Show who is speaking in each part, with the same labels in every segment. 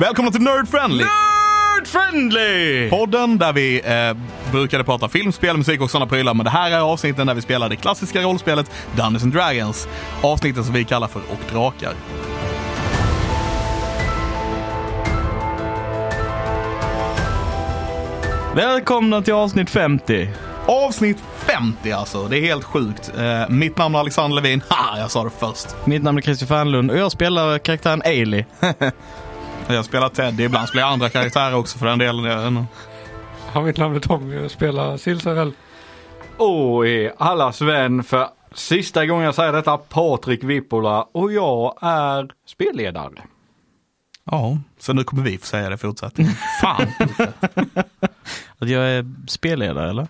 Speaker 1: Välkomna till Nerd Friendly!
Speaker 2: Nerd friendly!
Speaker 1: Podden där vi eh, brukade prata film, spel, musik och sådana prylar. Men det här är avsnitten där vi spelar det klassiska rollspelet Dungeons and Dragons. Avsnitten som vi kallar för Och Drakar.
Speaker 2: Välkomna till avsnitt 50.
Speaker 1: Avsnitt 50 alltså, det är helt sjukt. Eh, mitt namn är Alexander Levin. Ha, jag sa det först.
Speaker 2: Mitt namn är Christer Fanlund och jag spelar karaktären Ailey.
Speaker 1: Jag spelar Teddy, ibland spelar jag andra karaktärer också för den delen. Jag vet inte.
Speaker 3: Har mitt namn är Tommy och spelar Silsarell. Och är allas vän för sista gången jag säger detta, Patrik Vippola och jag är spelledare.
Speaker 1: Ja, så nu kommer vi få säga det fortsatt. Fan!
Speaker 2: Att jag är spelledare eller?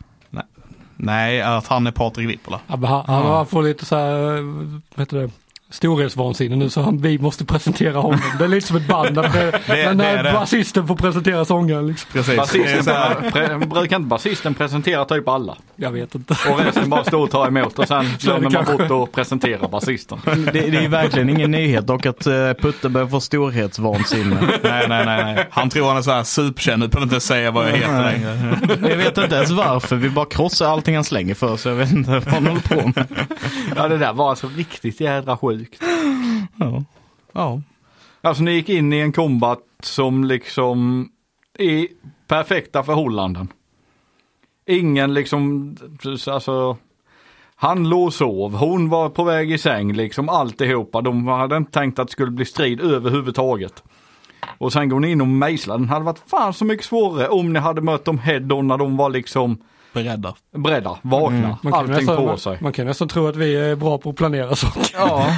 Speaker 1: Nej, att han är Patrik Vippola.
Speaker 4: Ja, men han, han, han får lite så här, eh, vad heter det, storhetsvansinne nu så han, vi måste presentera honom. Det är lite som ett band när, när,
Speaker 1: det är det.
Speaker 4: när basisten får presentera sångaren. Liksom.
Speaker 1: Precis. Det är
Speaker 3: Basisten
Speaker 1: så här,
Speaker 3: bara- pre- brukar inte basisten presentera typ alla?
Speaker 4: Jag vet inte.
Speaker 3: Och resten bara står och tar emot och sen
Speaker 4: är det
Speaker 3: glömmer man
Speaker 4: kanske.
Speaker 3: bort att presentera basisten.
Speaker 2: Det, det är ju verkligen ingen nyhet dock att eh, Putte börjar få storhetsvansinne.
Speaker 1: nej, nej, nej, nej. Han tror han är så här superkänd utan att inte säga vad jag heter längre.
Speaker 2: Jag vet inte ens varför, vi bara krossar allting han slänger för sig. Jag vet inte vad han håller på med.
Speaker 3: Ja det där var alltså riktigt jädra sjukt.
Speaker 2: Ja.
Speaker 1: Ja.
Speaker 3: Alltså ni gick in i en kombat som liksom i perfekta förhållanden. Ingen liksom, alltså han låg och sov, hon var på väg i säng liksom alltihopa. De hade inte tänkt att det skulle bli strid överhuvudtaget. Och sen går ni in och mejslar. Den hade varit fan så mycket svårare om ni hade mött dem head on när de var liksom
Speaker 1: Beredda.
Speaker 3: beredda,
Speaker 2: Mm.
Speaker 3: vakna, allting
Speaker 4: nästan,
Speaker 3: på
Speaker 4: man,
Speaker 3: sig.
Speaker 4: man kan nästan tro att vi är bra på att planera saker.
Speaker 3: Ja,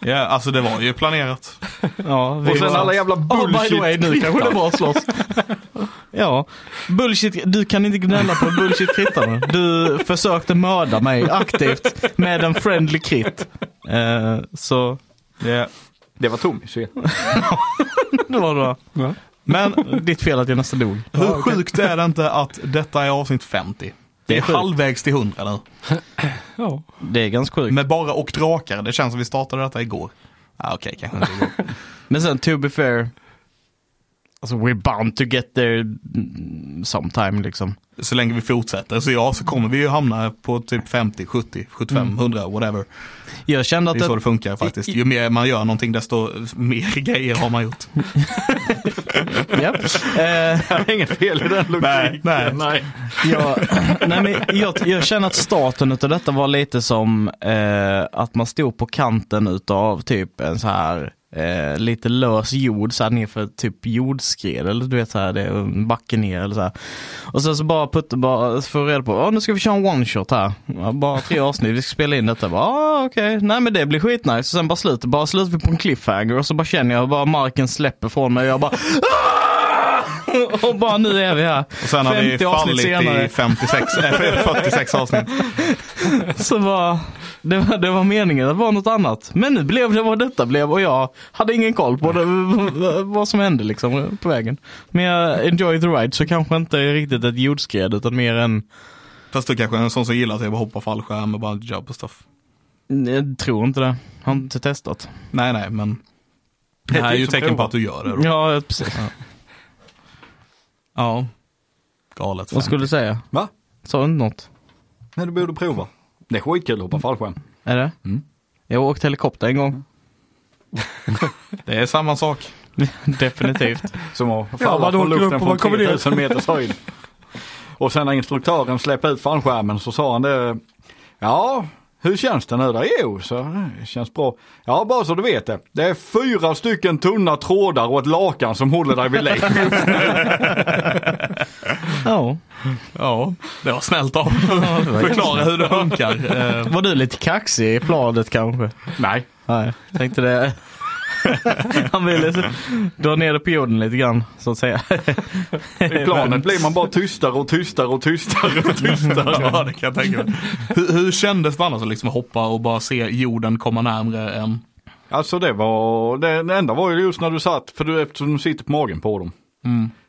Speaker 1: Ja, alltså det var ju planerat.
Speaker 2: Ja, vi
Speaker 3: och sen
Speaker 2: var-
Speaker 3: alla jävla bullshit.
Speaker 2: Oh, by the way, nu kanske det är bra att slåss. Ja, bullshit, du kan inte gnälla på bullshit-krittarna. Du försökte mörda mig aktivt med en friendly krit. Eh, så
Speaker 1: Ja.
Speaker 3: Det var Tommys fel.
Speaker 2: det var det.
Speaker 4: Va?
Speaker 2: Men ditt fel att jag nästan dog.
Speaker 1: Hur sjukt är det inte att detta är avsnitt 50? Det är
Speaker 2: sjukt.
Speaker 1: halvvägs till 100 nu.
Speaker 4: Ja.
Speaker 2: Det är ganska sjukt. Men,
Speaker 1: Med bara Och Drakar. Det känns som vi startade detta igår. Ah, Okej, kanske inte igår.
Speaker 2: sen, to be fair. Alltså we're bound to get there mm, sometime liksom.
Speaker 1: så länge vi fortsätter. Så ja, så kommer vi ju hamna på typ 50, 70, 75, 100, whatever.
Speaker 2: Jag kände att
Speaker 1: Mm. Det är så
Speaker 2: det,
Speaker 1: det funkar faktiskt. Ju mer man gör någonting desto mer grejer har man gjort.
Speaker 2: ja. Eh,
Speaker 3: Det är inget fel i den logiken.
Speaker 1: Nej, nej.
Speaker 2: jag, nej men jag, jag känner att starten utav detta var lite som eh, att man stod på kanten utav typ en så här eh, lite lös jord så här nerför typ jordskred eller du vet så här, det är en backe ner eller så här. Och sen så bara putte bara få reda på, ja nu ska vi köra en one shot här. Ja, Bara tre avsnitt, vi ska spela in detta. Bara, ah, okej, nej men det blir skitnice. Och sen bara slutet, bara slutar vi på en cliffhanger och så bara känner jag bara marken släpper från mig och jag bara "Ah!" och bara nu är vi här.
Speaker 1: Och sen har vi
Speaker 2: 50 avsnitt
Speaker 1: fallit
Speaker 2: senare.
Speaker 1: i 56, eh, 46 avsnitt.
Speaker 2: Så var, det, var, det var meningen att vara något annat. Men nu blev det vad detta blev och jag hade ingen koll på det, vad som hände liksom på vägen. Men jag enjoy the ride så kanske inte riktigt ett jordskred utan mer en,
Speaker 1: Fast du kanske är en sån som gillar att jag bara hoppar fallskärm och bara jump och stuff.
Speaker 2: jag tror inte det. Har inte testat.
Speaker 1: Nej, nej, men det här är ju tecken på att du gör det. då.
Speaker 2: Ja, precis.
Speaker 1: Ja. Galet.
Speaker 2: Vad skulle du säga?
Speaker 3: Va?
Speaker 2: Sa du inte något?
Speaker 3: Nej, du borde prova. Det är skitkul att hoppa fallskärm.
Speaker 2: Är det?
Speaker 3: Mm.
Speaker 2: Jag har åkt helikopter en gång.
Speaker 1: Det är samma sak.
Speaker 2: Definitivt.
Speaker 3: Som att falla
Speaker 4: Ja, man
Speaker 3: från
Speaker 4: åker upp
Speaker 3: luften
Speaker 4: och
Speaker 3: från
Speaker 4: man kommer ner.
Speaker 3: 3000 meters höjd. Och sen när instruktören släppte ut fallskärmen så sa han det. Ja, hur känns det nu då? Jo, så det känns bra. Ja, bara så du vet det. Det är fyra stycken tunna trådar och ett lakan som håller dig vid liv.
Speaker 2: Ja.
Speaker 1: Ja, det var snällt av Förklara hur det funkar. Eh,
Speaker 2: Var du lite kaxig i planet kanske?
Speaker 3: Nej.
Speaker 2: Nej, jag tänkte det. Han ville så- dra ner det på jorden lite grann, så att säga.
Speaker 3: I planet blir man bara tystare och tystare och tystare och tystare.
Speaker 1: Ja, det kan jag tänka mig. Hur, hur kändes det annars att liksom hoppa och bara se jorden komma närmre en?
Speaker 3: Alltså det var, det, det enda var ju just när du satt, för du, eftersom du sitter på magen på dem.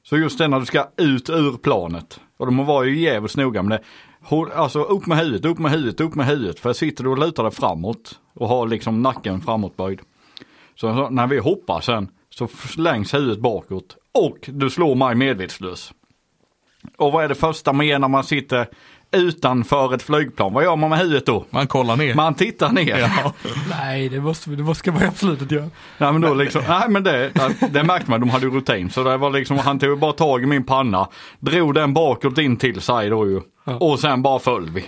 Speaker 3: Så just det när du ska ut ur planet. Och de var ju jävligt noga med det. Hå- Alltså upp med huvudet, upp med huvudet, upp med huvudet. För sitter du och lutar dig framåt och har liksom nacken framåtböjd. Så när vi hoppar sen Så slängs huvudet bakåt och du slår mig medvetslös. Och vad är det första man gör när man sitter utanför ett flygplan? Vad gör man med huvudet då?
Speaker 1: Man kollar ner.
Speaker 3: Man tittar ner.
Speaker 1: Ja.
Speaker 4: Nej, det, måste, vi- det måste, ska man absolut inte göra.
Speaker 3: Nej men då liksom, nej men det, det märkte man, de hade ju rutin. Så det var liksom, han tog bara tag i min panna, drog den bakåt in till sig då ju. Och sen bara föll vi.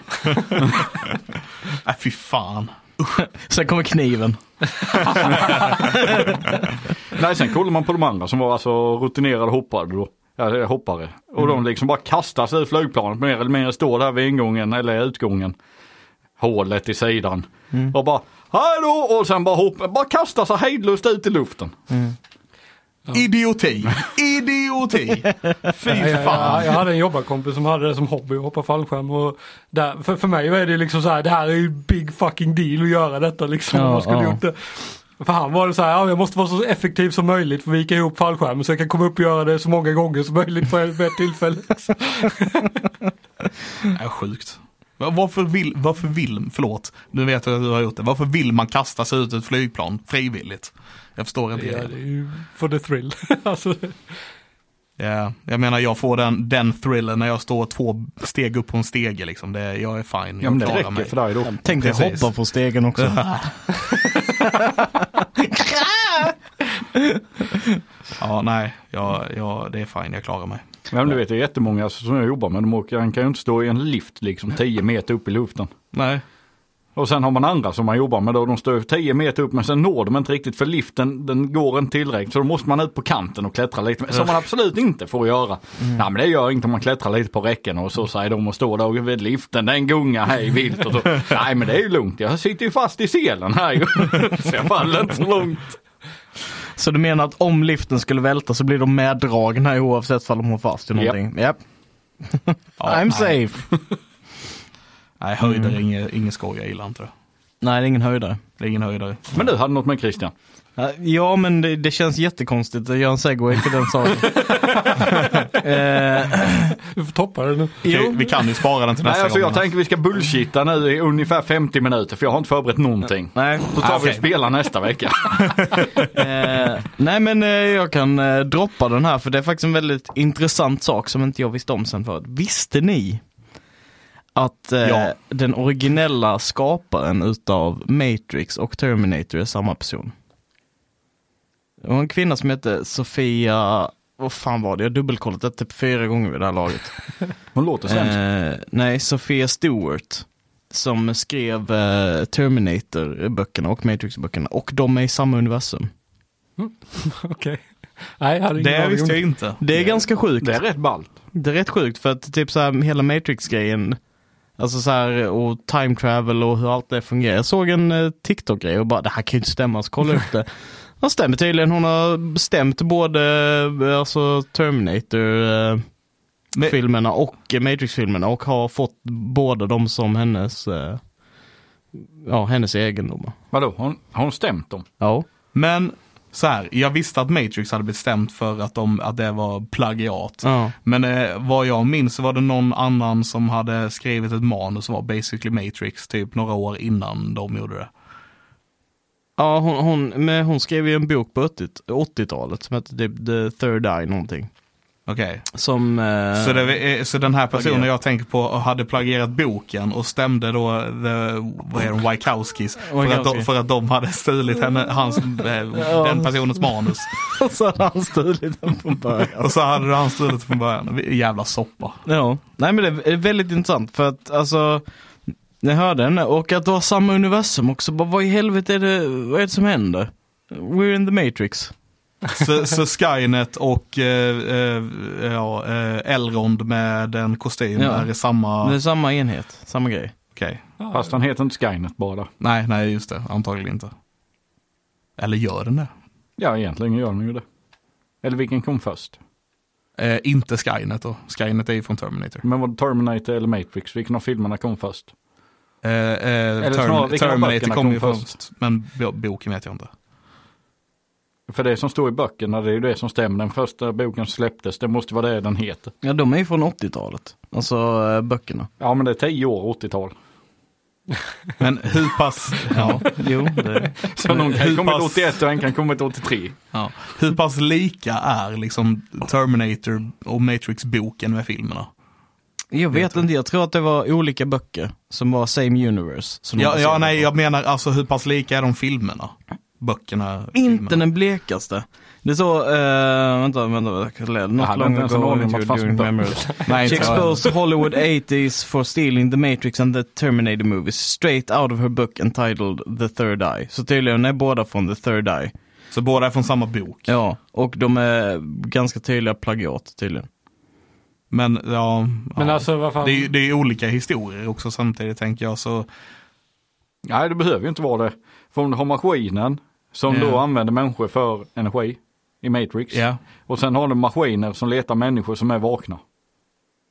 Speaker 1: Nej, fy fan.
Speaker 2: Sen kommer kniven.
Speaker 3: Nej sen kollade man på de andra som var alltså rutinerade hoppare då. Ja, hoppare. Och de liksom bara kastar sig ur flygplanet mer eller mindre, står där vid ingången eller utgången. Hålet i sidan. Och bara, hej då! Och sen bara hoppa, bara kastar sig hejdlöst ut i luften.
Speaker 1: Idioti. Idioti. Fy
Speaker 4: Jag,
Speaker 1: fan.
Speaker 4: jag, jag hade en jobbarkompis som hade det som hobby att hoppa fallskärm. Och där, för, för mig är det liksom så här, det här är ju big fucking deal att göra detta liksom.
Speaker 2: Ja,
Speaker 4: man skulle
Speaker 2: ja.
Speaker 4: gjort det. För han var det så här, ja, jag måste vara så effektiv som möjligt för att vika ihop fallskärmen så jag kan komma upp och göra det så många gånger som möjligt på ett på ett tillfälle.
Speaker 1: Ja, Äh, sjukt. Va- Varför vill, varför vill, förlåt, nu vet jag att du har gjort det. Varför vill man kasta sig ut ur ett flygplan frivilligt? Jag förstår inte
Speaker 4: Det är
Speaker 1: det.
Speaker 4: ju för the thrill. alltså,
Speaker 1: Ja, jag menar jag får den, den thrillen när jag står två steg upp på en stege liksom. Det, jag är fine,
Speaker 3: Ja
Speaker 1: jag
Speaker 3: men det
Speaker 1: klarar
Speaker 3: räcker
Speaker 1: mig.
Speaker 3: för dig då.
Speaker 2: Tänk dig
Speaker 1: Precis.
Speaker 2: hoppa på stegen också.
Speaker 1: Ja, nej, jag, jag, det är fine, jag klarar mig.
Speaker 3: Ja, men du vet det är jättemånga alltså, som jag jobbar med, de åker, han kan ju inte stå i en lift liksom 10 meter upp i luften.
Speaker 1: Nej,
Speaker 3: Och sen har man andra som man jobbar med då, de står 10 meter upp men sen når de inte riktigt för liften den går inte tillräckligt så då måste man ut på kanten och klättra lite. Som man absolut inte får göra.
Speaker 1: Mm.
Speaker 3: Nej men det gör inget om man klättrar lite på räcken och så säger de och står där vid liften, den gungar hej vilt och så. Nej men det är ju lugnt, jag sitter ju fast i selen här ju. Så jag faller inte så långt.
Speaker 2: Så du menar att om liften skulle välta så blir de meddragna oavsett om de har fast i någonting? Japp. I'm safe.
Speaker 1: nej höjder
Speaker 3: Mm.
Speaker 1: är ingen, ingen skoj, jag gillar inte det.
Speaker 2: Nej, det är ingen höjdare. Eh,
Speaker 1: Det är ingen höjdare.
Speaker 3: Men du hade något med Christian?
Speaker 2: Ja, men det, det känns jättekonstigt att göra en segway till den saken. eh,
Speaker 4: du får toppa det nu.
Speaker 1: Vi, vi kan ju spara den till
Speaker 3: Nej
Speaker 1: nästa
Speaker 3: alltså
Speaker 1: gång.
Speaker 3: jag tänker vi ska bullshitta nu i ungefär 50 minuter för jag har inte förberett någonting.
Speaker 2: nej,
Speaker 3: Då tar vi
Speaker 1: Okej.
Speaker 3: och spelar nästa vecka.
Speaker 2: eh, nej, men eh, jag kan eh, droppa den här för det är faktiskt en väldigt intressant sak som inte jag visste om sen förut. Visste ni att eh,
Speaker 1: Ja.
Speaker 2: den originella skaparen utav Matrix och Terminator är samma person? Det var en kvinna som hette Sofia, vad fan var det? Jag har dubbelkollat det typ fyra gånger vid det här laget.
Speaker 3: Hon låter sämst.
Speaker 2: Eh, nej, Sofia Stewart. Som skrev eh, Terminator-böckerna och Matrix-böckerna. Och de är i samma universum.
Speaker 4: Okej. Nej, jag hade ingen
Speaker 1: Det
Speaker 4: aning om
Speaker 1: visste jag
Speaker 4: det.
Speaker 1: inte.
Speaker 2: Det är ganska sjukt.
Speaker 3: Det är rätt ballt.
Speaker 2: Det är rätt sjukt för att typ så här hela Matrix-grejen. Alltså så här och time travel och hur allt det fungerar. Jag såg en eh, TikTok-grej och bara det här kan ju inte stämma. Så kolla upp det. Ja, stämmer tydligen. Hon har stämt både eh, alltså Terminator-filmerna
Speaker 1: Men-
Speaker 2: och eh, Matrix-filmerna och har fått båda dem som hennes, eh, ja, hennes egendomar.
Speaker 3: Vadå, hon, har hon stämt dem?
Speaker 2: Ja.
Speaker 1: Men så här, jag visste att Matrix hade blivit stämt för att, de, att det var plagiat.
Speaker 2: ja.
Speaker 1: Men eh, vad jag minns så var det någon annan som hade skrivit ett manus som var basically Matrix typ några år innan de gjorde det.
Speaker 2: Ja, hon, hon, men hon skrev ju en bok på 80 80-talet som hette typ The Third Eye någonting.
Speaker 1: Okej,
Speaker 2: Som... Eh,
Speaker 1: så, det- eh, så den här personen
Speaker 2: plagierat.
Speaker 1: jag tänker på hade plagierat boken och stämde då the, vad är de, Wykowskis för, att de,
Speaker 2: Wykowski.
Speaker 1: för att de hade stulit henne, hans, eh,
Speaker 2: Ja.
Speaker 1: den personens manus.
Speaker 2: så hade han stulit den från början.
Speaker 1: Och så hade han stulit från början. Jävla soppa.
Speaker 2: ja. Nej men det är väldigt intressant för att alltså, jag hörde henne och att det var samma universum också. Bara, vad i helvete är det, vad är det som händer? We're in the matrix.
Speaker 1: Så, så Skynet och eh, eh, ja, eh, Elrond med en kostym
Speaker 2: Ja.
Speaker 1: är i samma...
Speaker 2: Det är
Speaker 1: Okej.
Speaker 2: samma enhet, samma grej.
Speaker 3: Fast han heter inte Skynet bara.
Speaker 1: Nej, nej just det. Antagligen inte. Eller gör den det?
Speaker 3: Ja, egentligen gör han ju det. Eller vilken kom först?
Speaker 1: Eh, inte Skynet då. Skynet är ju från Terminator.
Speaker 3: Men var det Terminator eller Matrix? Vilken av filmerna kom först?
Speaker 1: Eh, eh,
Speaker 3: snarare,
Speaker 1: Term-
Speaker 3: vilka av
Speaker 1: Terminator
Speaker 3: böckerna
Speaker 1: kom
Speaker 3: kom
Speaker 1: ju först. Men bo- boken vet jag inte.
Speaker 3: För det som står i böckerna, det är ju det som stämmer. Den första boken släpptes, det måste vara det den heter.
Speaker 2: Ja de är ju från 80-talet. Alltså eh, böckerna.
Speaker 3: Ja, men det är 10 år, 80-tal.
Speaker 2: Men
Speaker 1: Hur pass,
Speaker 2: ja, jo. Det,
Speaker 3: Så någon kan
Speaker 1: Hur
Speaker 3: komma
Speaker 1: pass-
Speaker 3: till 81 och en kan komma till 83.
Speaker 1: ja, hur pass lika är liksom Terminator och Matrix-boken med filmerna?
Speaker 2: jag vet inte, jag tror att det var olika böcker som var same universe. Som de
Speaker 1: Ja, ja
Speaker 2: baserade
Speaker 1: nej,
Speaker 2: på.
Speaker 1: jag menar alltså hur pass lika är de filmerna? Böckerna?
Speaker 2: Inte
Speaker 1: filmerna.
Speaker 2: den blekaste. Det är så, eh, vänta, vänta, vänta, Not
Speaker 3: Jag hade inte ens en aning om att det fanns en bok.
Speaker 2: Nej,
Speaker 3: inte
Speaker 2: She
Speaker 3: jag.
Speaker 2: exposed Hollywood 80s for stealing the Matrix and the Terminator movies straight out of her book entitled The Third Eye. Så tydligen är båda från The Third Eye.
Speaker 1: Så båda är från samma bok.
Speaker 2: Ja, och de är ganska tydliga plagiat tydligen.
Speaker 1: Men ja,
Speaker 4: Men
Speaker 1: ja.
Speaker 4: alltså vad fan.
Speaker 1: det, är, ju- det är ju olika historier också samtidigt tänker jag. Så,
Speaker 3: Nej, det behöver ju inte vara det. För om du har maskinen som
Speaker 1: Ja.
Speaker 3: då använder människor för energi i Matrix.
Speaker 1: ja,
Speaker 3: Och sen har du maskiner som letar människor som är vakna.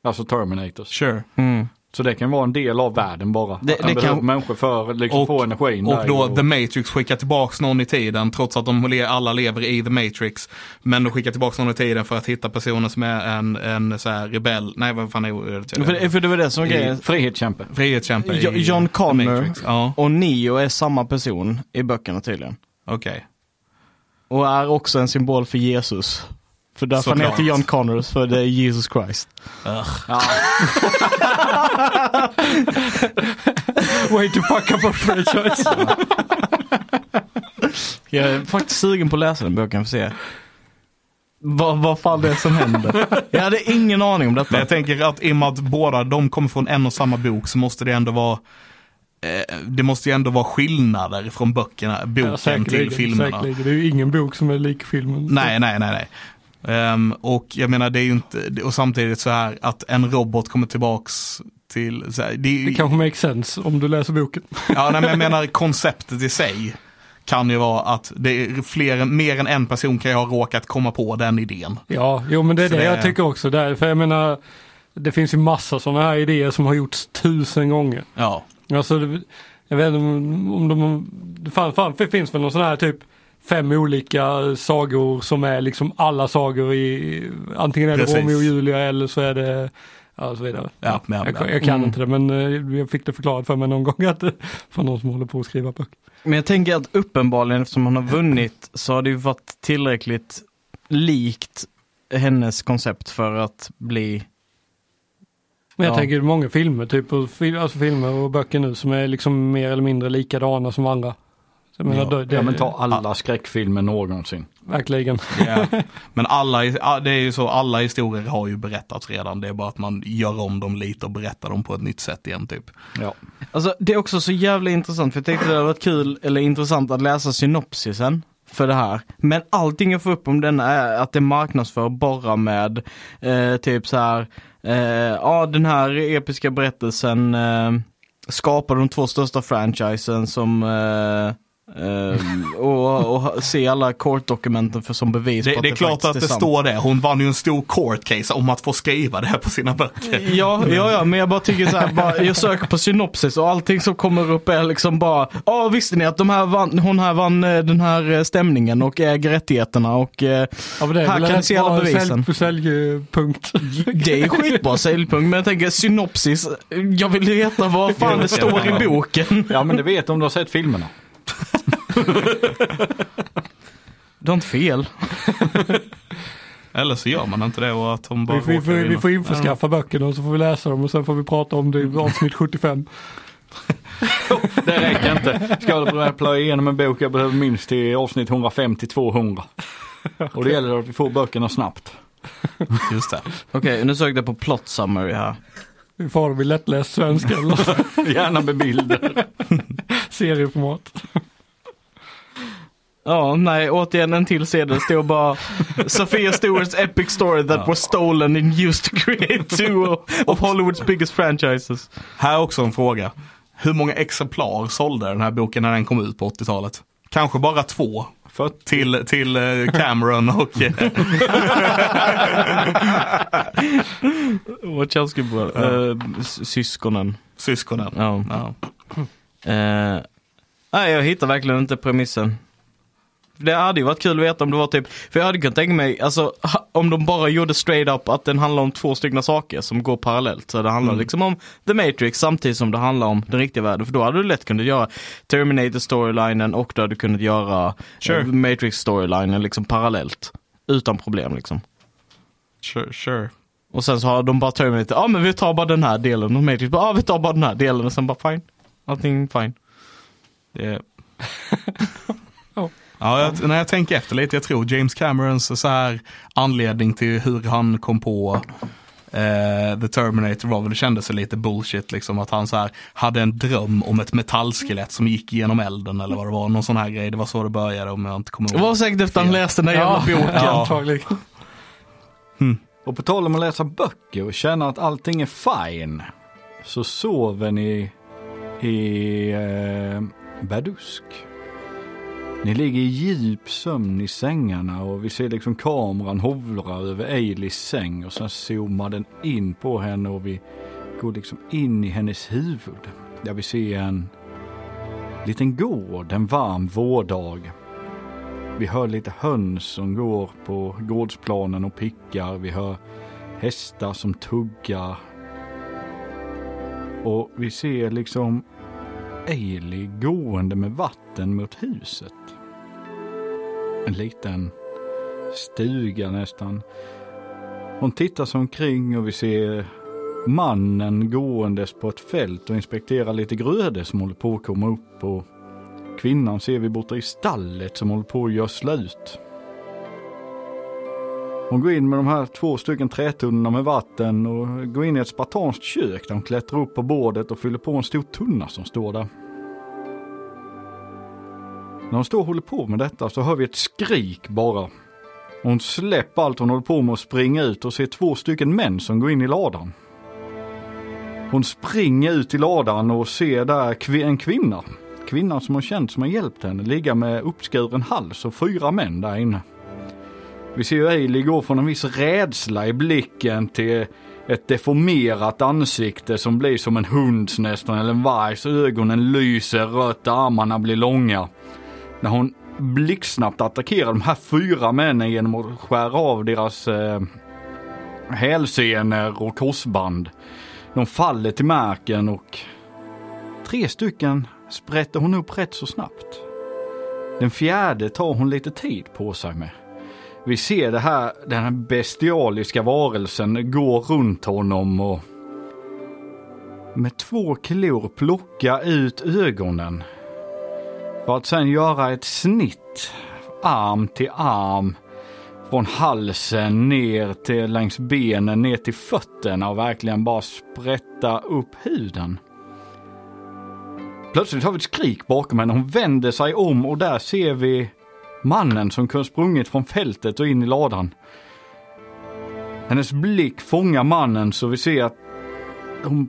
Speaker 3: Alltså Terminators.
Speaker 1: sure.
Speaker 2: Mm.
Speaker 3: Så det kan vara en del av världen bara.
Speaker 2: Det-
Speaker 3: Det,
Speaker 2: det
Speaker 3: det behöver
Speaker 2: kan-
Speaker 3: människor för att liksom
Speaker 1: Och-
Speaker 3: få energin.
Speaker 1: Och
Speaker 3: där
Speaker 1: då
Speaker 3: i-
Speaker 1: The Matrix skickar tillbaks någon i tiden trots att de le- alla lever i The Matrix. Men de skickar tillbaks någon i tiden för att hitta personer som är en, en så här rebell. Nej vad fan är ordet? jag
Speaker 2: För, för det var det som var
Speaker 1: I-
Speaker 2: grejen.
Speaker 3: Frihetskämpe.
Speaker 1: Frihetskämpe i
Speaker 2: Jo- John
Speaker 1: The
Speaker 2: Connor.
Speaker 1: Matrix. Ja,
Speaker 2: Och Neo är samma person i böckerna tydligen.
Speaker 1: okej.
Speaker 2: Och är också en symbol för Jesus. För därför han
Speaker 1: Såklart.
Speaker 2: heter John Connors, för det är Jesus Christ.
Speaker 3: Ja,
Speaker 4: Way to fuck up a franchise.
Speaker 2: Jag är faktiskt sugen på att läsa den boken för att se vad, vad fan det är som händer. Jag hade ingen aning om
Speaker 1: Men
Speaker 2: detta.
Speaker 1: jag tänker att i och med att båda de kommer från en och samma bok så måste det ändå vara eh, det måste ju ändå vara skillnader från böckerna,
Speaker 4: Ja,
Speaker 1: boken till
Speaker 4: säkerligen,
Speaker 1: filmerna.
Speaker 4: säkerligen. Det är ju ingen bok som är lik filmen.
Speaker 1: Nej, nej, nej, nej. Ehm, och jag menar det är ju inte, och samtidigt så här att en robot kommer tillbaks till, så här, det är ju,
Speaker 4: Det kanske makes sense om du läser boken.
Speaker 1: ja nej men jag menar konceptet i sig kan ju vara att det är fler, mer än en person kan ju ha råkat komma på den idén.
Speaker 4: Ja, jo men det är
Speaker 1: Så
Speaker 4: det,
Speaker 1: det-
Speaker 4: jag tycker också. Där, för jag menar, det finns ju massa sådana här idéer som har gjorts tusen gånger.
Speaker 1: Ja,
Speaker 4: Alltså, det- jag vet inte om om de, det fan, fan, det finns väl någon sån här typ fem olika sagor som är liksom alla sagor i, antingen är det
Speaker 1: Precis.
Speaker 4: Romeo och Julia eller så är det, ja och så vidare.
Speaker 1: ja, men,
Speaker 4: Jag,
Speaker 1: ja.
Speaker 4: jag kan
Speaker 2: Mm.
Speaker 4: inte det men eh, jag fick det förklarat för mig någon gång att det var någon som håller på att skriva böcker.
Speaker 2: Men jag tänker att uppenbarligen eftersom han har vunnit så har det ju varit tillräckligt likt hennes koncept för att bli
Speaker 4: Men jag
Speaker 2: Ja.
Speaker 4: tänker många filmer, typ, och fil, alltså filmer och böcker nu som är liksom mer eller mindre likadana som andra. Så jag menar,
Speaker 1: Ja.
Speaker 4: det, det
Speaker 3: ja, men
Speaker 4: är
Speaker 3: ta alla skräckfilmer någonsin.
Speaker 4: verkligen.
Speaker 1: Ja. Men alla, ja, det är ju så, alla historier har ju berättats redan. Det är bara att man gör om dem lite och berättar dem på ett nytt sätt igen typ.
Speaker 3: Ja.
Speaker 2: Alltså det är också så jävla intressant för jag tänkte det hade varit kul eller intressant att läsa synopsisen för det här. Men allting jag får upp om denna är att det marknadsför bara med eh, typ så här, eh, ja den här episka berättelsen eh, skapar de två största franchisen som eh, eh, och, och se alla courtdokumenten för som bevis på
Speaker 1: Det,
Speaker 2: att
Speaker 1: det är klart
Speaker 2: faktiskt
Speaker 1: att det
Speaker 2: sant.
Speaker 1: står det. Hon vann ju en stor court case om att få skriva det här på sina böcker.
Speaker 2: Ja, ja, ja, men jag bara tycker så här, bara, jag söker på synopsis och allting som kommer upp är liksom bara, ja visste ni att de här vann, hon här vann eh, den här eh, stämningen och äger rättigheterna och eh,
Speaker 4: Ja, men det är
Speaker 2: Här
Speaker 4: väl
Speaker 2: kan
Speaker 4: rätt
Speaker 2: ni se alla
Speaker 4: bra
Speaker 2: bevisen.
Speaker 4: Sälj, säljpunkt.
Speaker 2: det är skitbra säljpunkt. Men jag tänker synopsis, eh, jag vill veta vad fan det står i boken.
Speaker 3: ja, men det vet om du har sett filmerna.
Speaker 2: Du har inte fel.
Speaker 1: Eller så gör man inte det och att hon bara
Speaker 4: Vi, vi,
Speaker 1: råkar
Speaker 4: får- vi
Speaker 1: vinna.
Speaker 4: får införskaffa böckerna och så får vi läsa dem och sen får vi prata om det
Speaker 2: Mm.
Speaker 4: i avsnitt 75.
Speaker 3: Det räcker inte. Ska jag börja plöja igenom en bok jag behöver minst till avsnitt 150-200. Och det gäller att vi får böckerna snabbt.
Speaker 1: Just det.
Speaker 2: Okej, nu sökte jag på plot summary här.
Speaker 4: Vi får ha dem i lättläst svenska eller
Speaker 3: Gärna med bilder.
Speaker 4: serieformat.
Speaker 2: Ja, nej, återigen en till sedel. Det står bara Sofia Stewarts epic story that was stolen and used to create two of, of Hollywoods biggest franchises.
Speaker 1: Här också en fråga. Hur många exemplar sålde den här boken när den kom ut på 80-talet? Kanske bara två.
Speaker 3: För att
Speaker 1: Till, till eh, Cameron och... eh,
Speaker 2: Wachowski-bröderna. eh, syskonen.
Speaker 1: syskonen.
Speaker 2: Ja.
Speaker 1: Ja.
Speaker 2: Eh, nej, jag hittar verkligen inte premissen. det hade ju varit kul att veta om det var typ, för jag hade kunnat tänka mig, alltså ha- om de bara gjorde straight up att den handlar om två stycken saker som går parallellt. Så det handlar liksom om The Matrix samtidigt som det handlar om den riktiga världen. För då hade du lätt kunnat göra Terminator storylinen och du hade du kunnat göra
Speaker 1: Sure.
Speaker 2: eh, Matrix storylinen liksom parallellt. Utan problem liksom.
Speaker 1: Sure, sure.
Speaker 2: Och sen så har de bara Terminator, ja ah, men vi tar bara den här delen och Matrix bara, ah, vi tar bara den här delen och sen bara fine. Allting fine. Det,
Speaker 1: Ja, jag, när jag tänker efter lite, jag tror James Camerons så här anledning till hur han kom på eh, The Terminator var väl det kändes lite bullshit liksom att han så här hade en dröm om ett metallskelett som gick genom elden eller vad det var, någon sån här grej. Det var så det började om jag inte kommer
Speaker 2: det
Speaker 1: ihåg.
Speaker 2: var säkert efter han läste den där jävla boken.
Speaker 1: Ja.
Speaker 4: antagligen.
Speaker 3: Och på tal om att läsa böcker och känna att allting är fine. Så sover ni i eh, Badusk. Ni ligger i djup sömn i sängarna och vi ser liksom kameran hovra över Eilis säng och sen zoomar den in på henne och vi går liksom in i hennes huvud. Där vi ser en liten gård en varm vårdag. Vi hör lite höns som går på gårdsplanen och pickar. Vi hör hästar som tuggar. Och vi ser liksom Eili gående med vatten mot huset. En liten stuga nästan. Hon tittar sig omkring och vi ser mannen gåendes på ett fält och inspekterar lite grödor som håller på att komma upp och Kvinnan ser vi borta i stallet som håller på att gödsla ut. Hon går in med de här två stycken trätunnorna med vatten och går in i ett spartanskt kök där hon klättrar upp på bordet och fyller på en stor tunna som står där. När hon står och håller på med detta så hör vi ett skrik bara. Hon släpper allt hon håller på med och springer ut och ser två stycken män som går in i ladan. Hon springer ut i ladan och ser där kvi- en kvinna. Kvinnan som hon känt som har hjälpt henne ligga med uppskuren hals och fyra män där inne. Vi ser ju Hailey gå från en viss rädsla i blicken till ett deformerat ansikte som blir som en hunds nästan eller en vargs. Ögonen lyser rött, armarna blir långa. När hon blixtsnabbt attackerar de här fyra männen genom att skära av deras eh, hälsenor och korsband. De faller till marken och tre stycken sprätter hon upp rätt så snabbt. Den fjärde tar hon lite tid på sig med. Vi ser det här, den här bestialiska varelsen gå runt honom och med två klor plocka ut ögonen. För att sen göra ett snitt arm till arm från halsen ner till längs benen ner till fötterna och verkligen bara sprätta upp huden. Plötsligt har vi ett skrik bakom henne. Hon vänder sig om och där ser vi mannen som kunde sprungit från fältet och in i ladan. Hennes blick fångar mannen så vi ser att hon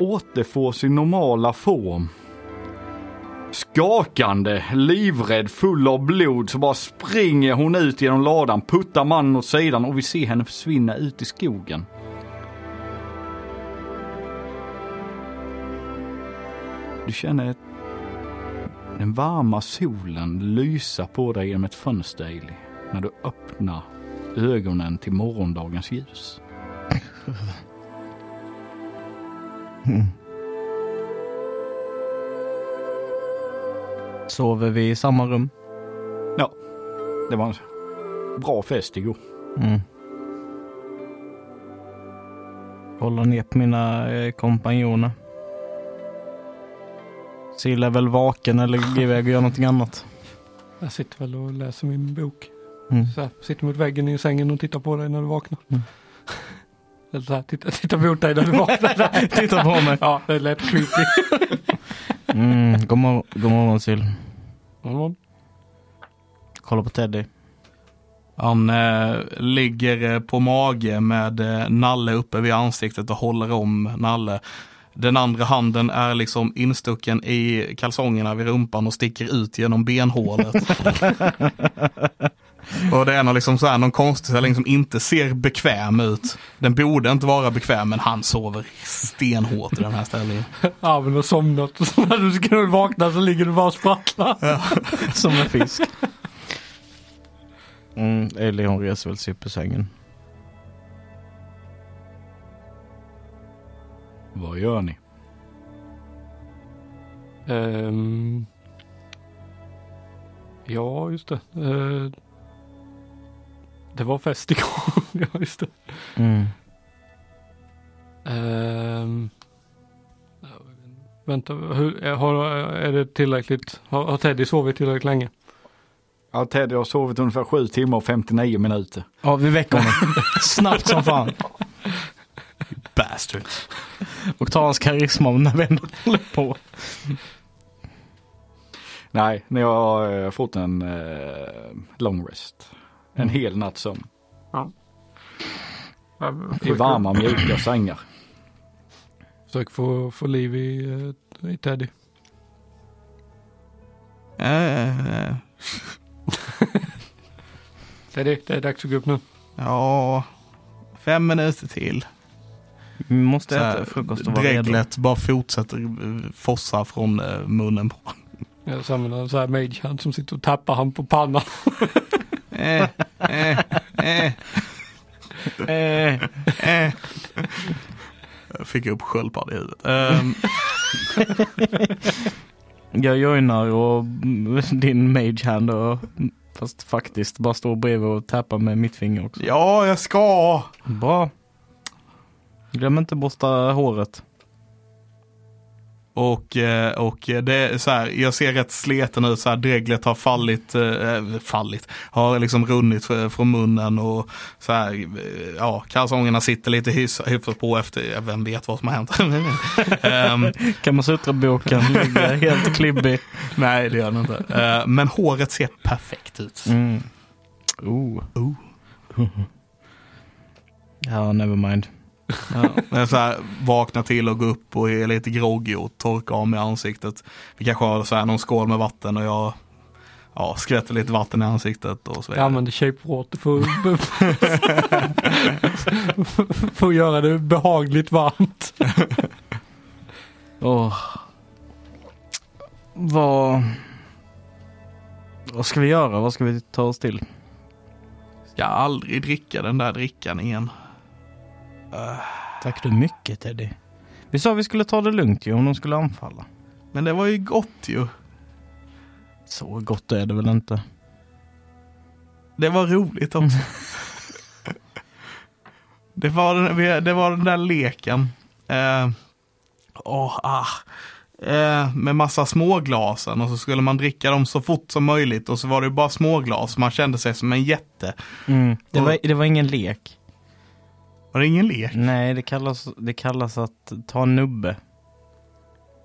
Speaker 3: återfår sin normala form. Skakande, livrädd, full av blod så bara springer hon ut genom ladan, puttar mannen åt sidan och vi ser henne försvinna ut i skogen. Du känner ett, den varma solen lysa på dig genom ett fönster, Ailey, när du öppnar ögonen till morgondagens ljus.
Speaker 2: Sover vi i samma rum?
Speaker 3: Ja, det var en bra fest igår.
Speaker 2: Mm. Kollar ner på mina eh, kompanjoner. Silla är väl vaken eller går iväg och gör någonting annat.
Speaker 4: Jag sitter väl och läser min bok.
Speaker 2: Mm.
Speaker 4: Så här, sitter mot väggen i sängen och tittar på dig när du vaknar.
Speaker 2: Mm.
Speaker 4: Eller så här, titta, titta mot dig när du vaknar.
Speaker 2: Titta på mig.
Speaker 4: ja, det lät creepy.
Speaker 2: Mm, god, mor- god morgon Sill.
Speaker 4: Mm.
Speaker 2: Kolla på Teddy.
Speaker 1: Han eh, ligger eh, på mage med eh, nalle uppe vid ansiktet och håller om nalle. Den andra handen är liksom instucken i kalsongerna vid rumpan och sticker ut genom benhålet. och det är någon, liksom så här, någon konstig ställning som inte ser bekväm ut. Den borde inte vara bekväm men han sover stenhårt i den här ställningen.
Speaker 4: Armen har somnat och så när du ska vakna så ligger du bara och sprattlar.
Speaker 2: Som en fisk. Mm, eller hon reser väl sig upp ur sängen.
Speaker 3: Vad gör ni?
Speaker 4: Ehm. ja, just det. Eh, det var fest igår. ja, just det.
Speaker 2: Mm.
Speaker 4: Ehm. vänta, hur, är- har, eh, är det tillräckligt? Har, har Teddy sovit tillräckligt länge?
Speaker 3: Ja, Teddy har sovit ungefär 7 timmar och 59 minuter.
Speaker 2: Ja, vi väcker honom. Snabbt som fan.
Speaker 1: Bastard.
Speaker 2: Och tar hans karisma när vi ändå håller på.
Speaker 3: Nej, ni har eh, fått en eh, long rest. En hel natt sömn. I varma mjuka sängar.
Speaker 4: Försök få, få liv i, eh, i Teddy.
Speaker 1: Eh,
Speaker 4: Teddy, det är dags att gå upp nu.
Speaker 1: ja, fem minuter till.
Speaker 2: Vi måste
Speaker 1: Så här,
Speaker 2: äta frukost och vara redo.
Speaker 1: Dreglet bara fortsätter eh, fossa från eh, munnen på honom.
Speaker 4: Jag samlar en sån här mage hand som sitter och tappar han på pannan.
Speaker 1: Eh, eh, eh,
Speaker 2: Eh,
Speaker 1: eh. Jag Fick upp sköldpadda i huvudet. Ehm,
Speaker 2: jag joinar och din mage hand och fast faktiskt bara står bredvid och tappar med mitt finger också.
Speaker 1: ja, jag ska!
Speaker 2: Bra. Glöm inte borsta håret.
Speaker 1: Och, eh, och det är så här, jag ser rätt sleten ut, så här, dreglet har fallit, eh, fallit, har liksom runnit fr- från munnen och så här, eh, ja, kalsongerna sitter lite hyfs- hyfsat på efter, ja, vem vet vad som har hänt. Ehm,
Speaker 2: Kamasutra-boken ligger helt klibbig.
Speaker 1: nej, det gör den inte. Eh, men håret ser perfekt ut.
Speaker 2: Mm. Oh.
Speaker 1: Oh.
Speaker 2: ja, never mind.
Speaker 1: Jag så här, vaknar till och går upp och är lite groggy och torkar av mig ansiktet. Vi kanske har så här någon skål med vatten och jag ja, skvätter lite vatten i ansiktet och så
Speaker 4: Jag
Speaker 1: vidare.
Speaker 4: använder shape water för, för, för att göra det behagligt varmt.
Speaker 2: Åh. Vad... Vad ska vi göra? Vad ska vi ta oss till?
Speaker 1: Ska aldrig dricka den där drickan igen.
Speaker 2: Ah, Tack du mycket Teddy. Vi sa vi skulle ta det lugnt ju om de skulle anfalla.
Speaker 1: Men det var ju gott ju.
Speaker 2: Så gott är det väl inte?
Speaker 1: Det var roligt också. det, var den, vi- det var den där leken. Eh, åh, ah. Eh, med massa småglasen och så skulle man dricka dem så fort som möjligt och så var det ju bara småglas. Man kände sig som en jätte.
Speaker 2: Mm. Det, var, det var ingen lek.
Speaker 1: Var det ingen lek?
Speaker 2: Nej, det kallas, det kallas att ta en nubbe.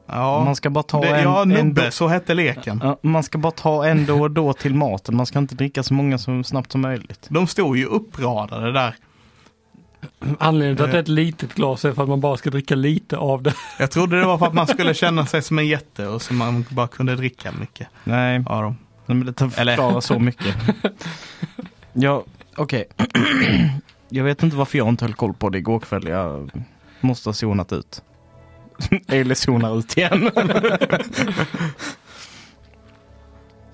Speaker 1: Ja,
Speaker 2: Man ska bara ta
Speaker 1: det,
Speaker 2: en...
Speaker 1: ja
Speaker 2: en
Speaker 1: nubbe,
Speaker 2: do-
Speaker 1: så hette leken.
Speaker 2: Ja, man ska bara ta en då och då till maten. Man ska inte dricka så många så snabbt som möjligt.
Speaker 1: De stod ju uppradade där.
Speaker 4: Anledningen till att det är ett litet glas är för att man bara ska dricka lite av det.
Speaker 1: Jag trodde det var för att man skulle känna sig som en jätte och så man bara kunde dricka mycket
Speaker 2: Nej,
Speaker 1: av dem.
Speaker 2: Nej, men det tar-
Speaker 1: Eller-
Speaker 2: förklarar så mycket. Ja, okej. Jag vet inte varför jag inte höll koll på det igår kväll. Jag måste ha zonat ut. Eller zonar ut igen.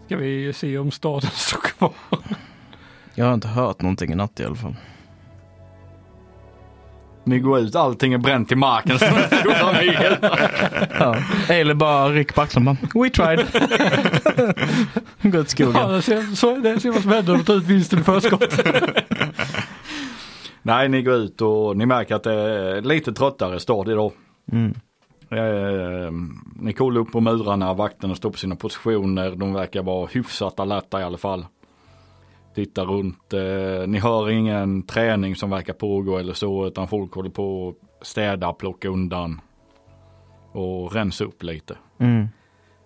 Speaker 4: Ska vi se om staden står kvar.
Speaker 2: Jag har inte hört någonting i natt i alla fall.
Speaker 3: Ni går ut, allting är bränt till marken. Så ni går ner.
Speaker 2: Ja. Eller bara ryck på axlarna. bara, We tried. Gå ut i
Speaker 4: Ja,
Speaker 2: skogen.
Speaker 4: det ser, så, det ser vad som händer om ta ut vinsten i förskott.
Speaker 3: Nej, ni går ut och ni märker att det är lite tröttare stad idag.
Speaker 2: Mm.
Speaker 3: Eh, ni kollar upp på murarna, vakterna står på sina positioner. De verkar vara hyfsat alerta i alla fall. Tittar runt. Eh, ni hör ingen träning som verkar pågå eller så utan folk håller på att städa, plocka undan och rensa upp lite.
Speaker 2: Mm.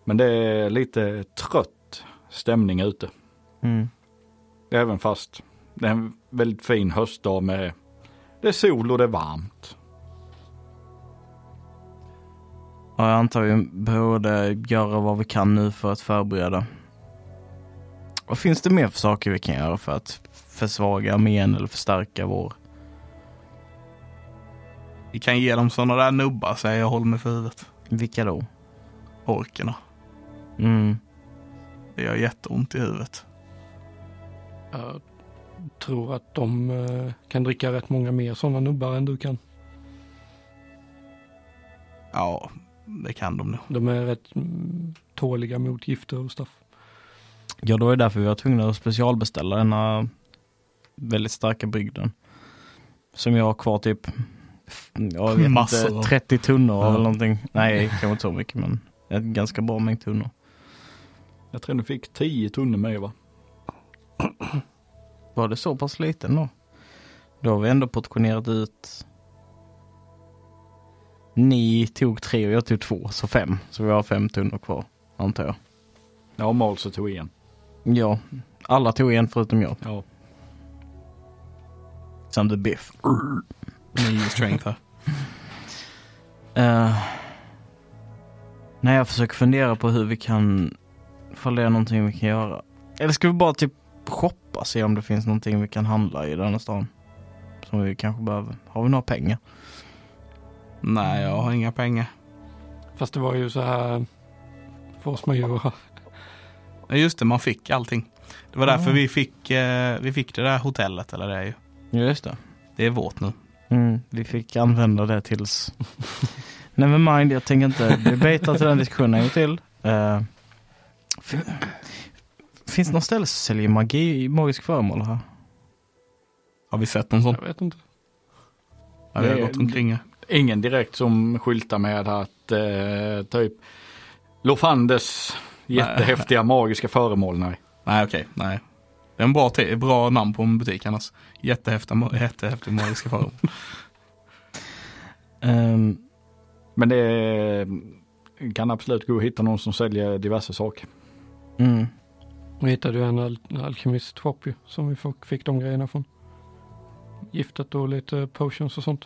Speaker 3: Men det är lite trött stämning ute.
Speaker 2: Mm.
Speaker 3: Även fast det är en väldigt fin höstdag med det är sol och det är varmt.
Speaker 2: Ja, jag antar vi borde göra vad vi kan nu för att förbereda. Vad finns det mer för saker vi kan göra för att försvaga armén eller förstärka vår...
Speaker 1: Vi kan ge dem sådana där nubbar säger jag, håller mig för huvudet.
Speaker 2: Vilka då?
Speaker 1: Orkerna.
Speaker 2: Mm.
Speaker 1: Det gör jätteont i huvudet.
Speaker 4: tror att de eh, kan dricka rätt många mer sådana nubbar än du kan.
Speaker 1: Ja, det kan de nog.
Speaker 4: De är rätt mm, tåliga mot gifter och stuff.
Speaker 2: Ja, det var ju därför vi var tvungna att specialbeställa denna väldigt starka brygden. Som jag har kvar typ, jag vet
Speaker 1: Massor.
Speaker 2: inte, 30 tunnor
Speaker 1: Ja.
Speaker 2: eller någonting. Nej, kanske inte så mycket men en ganska bra mängd tunnor.
Speaker 3: Jag tror ni fick 10 tunnor med va?
Speaker 2: Var det så pass liten då? Då har vi ändå portionerat ut. Ni tog tre och jag tog två, så fem. Så vi har fem tunnor kvar, antar jag.
Speaker 3: Ja, Malse tog en.
Speaker 2: Ja, alla tog en förutom jag.
Speaker 3: Ja.
Speaker 2: Samt ett biff.
Speaker 1: Nio strength här.
Speaker 2: Eh, nej, jag försöker fundera på hur vi kan, ifall det är någonting vi kan göra. Eller ska vi bara typ shoppa, se om det finns någonting vi kan handla i den här stan? Som vi kanske behöver. Har vi några pengar?
Speaker 1: Nej, jag har inga pengar.
Speaker 4: Fast det var ju så här eh, force majeure.
Speaker 1: Ja, Just det, man fick allting. Det var därför vi, fick, eh, vi fick det där hotellet, eller det är ju.
Speaker 2: Ja, just det.
Speaker 1: Det är vårt nu.
Speaker 2: Mm, vi fick använda det tills... Never mind, jag tänker inte debata till den diskussionen en gång till. Eh, fin- finns det något ställe som säljer magi, magisk föremål här?
Speaker 1: Har vi sett någon sån?
Speaker 4: Jag vet inte.
Speaker 1: Ja, vi har
Speaker 3: Det-
Speaker 1: gått omkring här.
Speaker 3: Ingen direkt som skyltar med att eh, typ Lofandes jättehäftiga magiska föremål. Nej.
Speaker 1: Nej, okej. Nej. Det är en bra, te- bra namn på en butik annars. Jättehäftiga, ma- jättehäftiga magiska föremål.
Speaker 2: Ehm,
Speaker 3: Men det eh, kan absolut gå att hitta någon som säljer diverse saker.
Speaker 2: mm.
Speaker 4: Vi hittade ju en al- alkemist shop ju, som vi fick, fick de grejerna från. Giftet och lite potions och sånt.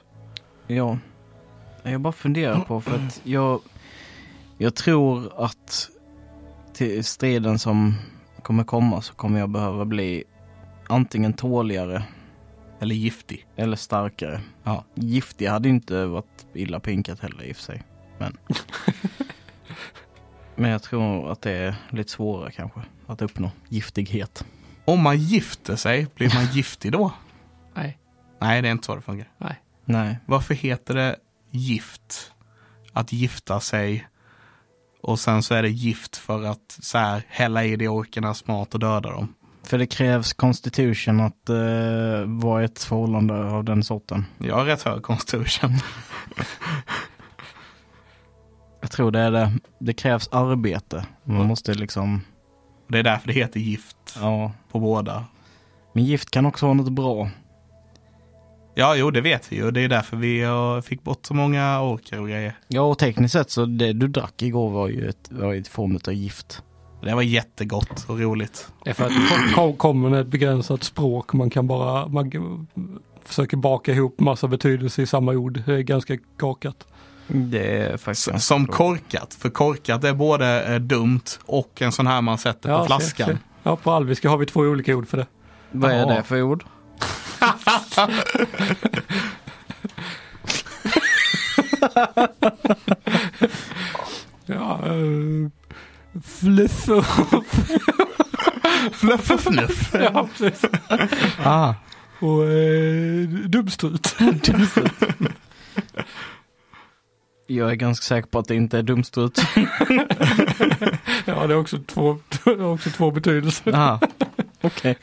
Speaker 2: Ja. Jag bara funderar på för att jag, jag tror att till striden som kommer komma så kommer jag behöva bli antingen tåligare
Speaker 1: Eller giftig.
Speaker 2: eller starkare.
Speaker 1: Ja.
Speaker 2: Giftiga hade inte varit illa pinkat heller i och för sig. Men, men jag tror att det är lite svårare kanske att uppnå giftighet.
Speaker 1: Om man gifter sig, blir man giftig då?
Speaker 4: Nej.
Speaker 1: Nej, det är inte så det funkar.
Speaker 4: Nej.
Speaker 2: Nej.
Speaker 1: Varför heter det gift? Att gifta sig. Och sen så är det gift för att så här, hälla i det orkernas mat och döda dem.
Speaker 2: För det krävs constitution att eh, vara i ett förhållande av den sorten.
Speaker 1: Jag har rätt hög konstitution.
Speaker 2: Jag tror det är det. Det krävs arbete. Man måste liksom,
Speaker 1: Det är därför det heter gift
Speaker 2: ja.
Speaker 1: på båda.
Speaker 2: Men gift kan också vara något bra.
Speaker 1: Ja, jo, det vet vi ju. Det är därför vi eh, fick bort så många orker och grejer.
Speaker 2: Ja, och tekniskt sett så det du drack igår var ju ett, var ju ett form av gift.
Speaker 1: Det var jättegott och roligt.
Speaker 4: Det är för att kom- kommer med ett begränsat språk. Man kan bara, man försöker baka ihop massa betydelse i samma ord. Det är ganska kakat.
Speaker 2: Det är faktiskt
Speaker 1: S-
Speaker 2: ganska
Speaker 1: Som
Speaker 2: bra.
Speaker 1: korkat, för korkat är både eh, dumt och en sån här man sätter på
Speaker 4: se-
Speaker 1: flaskan.
Speaker 4: se. Ja, på alviska har vi två olika ord för det.
Speaker 2: Vad är
Speaker 1: Ja.
Speaker 2: det för ord?
Speaker 4: Ja, eh, fluff och,
Speaker 1: Fluff och fnuff.
Speaker 4: ja, precis.
Speaker 2: Ah.
Speaker 4: och eh, dubbstrut.
Speaker 2: Jag är ganska säker på att det inte är dumstrut.
Speaker 4: Ja, det är också två, det är också två betydelser.
Speaker 2: Aha. Okej.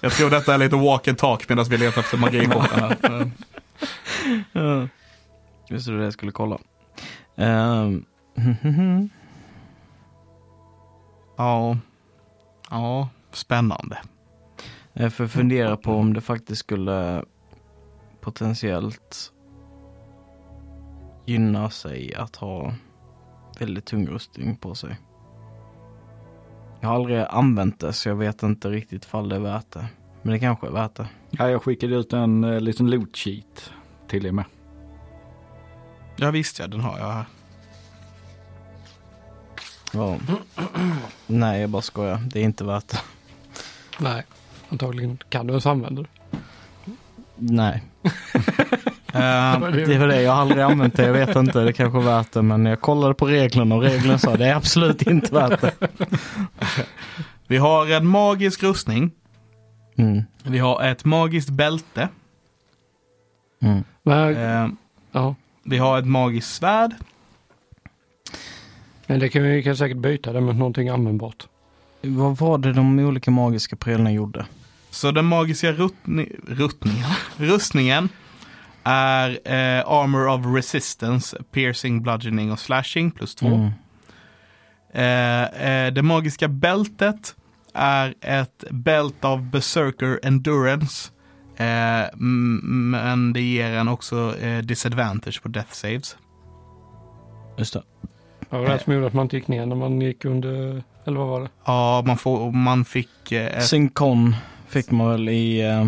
Speaker 1: Jag tror detta är lite walk and talk medan vi letar efter magikorten här. Eh,
Speaker 2: Ja. Just det, det var det jag skulle kolla. Ehm,
Speaker 1: Ja, ja, spännande.
Speaker 2: eh, för fundera på om det faktiskt skulle potentiellt gynna sig att ha väldigt tung rustning på sig. Jag har aldrig använt det så jag vet inte riktigt ifall det är värt det. Men det kanske är värt det.
Speaker 3: Ja, jag skickade ut en eh, liten loot sheet till er med.
Speaker 1: Ja visst ja, den har jag här.
Speaker 2: Ja. Nej, jag bara skojar. Det är inte värt det.
Speaker 4: Nej, antagligen kan du ens använda det.
Speaker 2: Nej.
Speaker 1: Eh,
Speaker 2: Det var det, jag har aldrig använt det. Jag vet inte, det kanske är värt det. Men jag kollade på reglerna och reglerna sa det är absolut inte värt det.
Speaker 1: Vi har en magisk rustning
Speaker 2: Mm.
Speaker 1: Vi har ett magiskt bälte.
Speaker 2: Mm.
Speaker 4: Nej,
Speaker 1: Eh,
Speaker 4: ja.
Speaker 1: vi har ett magiskt svärd.
Speaker 4: Men det kan vi kan säkert byta det mot någonting användbart.
Speaker 2: Vad var det de olika magiska prylarna gjorde?
Speaker 1: Så den magiska ruttni, ruttningen, rustningen är eh, Armor of Resistance, Piercing, Bludgeoning och Slashing plus två.
Speaker 2: Mm.
Speaker 1: Eh, eh, det magiska bältet är ett bälte av Berserker Endurance. Eh, m- men det ger en också eh, disadvantage på death saves.
Speaker 2: Just det.
Speaker 4: Ja, det var det
Speaker 1: Eh.
Speaker 4: som gjorde att man inte gick ner när man gick under, eller vad var det?
Speaker 1: Ja, man, får, man fick... Eh, ett-
Speaker 2: Synkon fick man väl i... eh,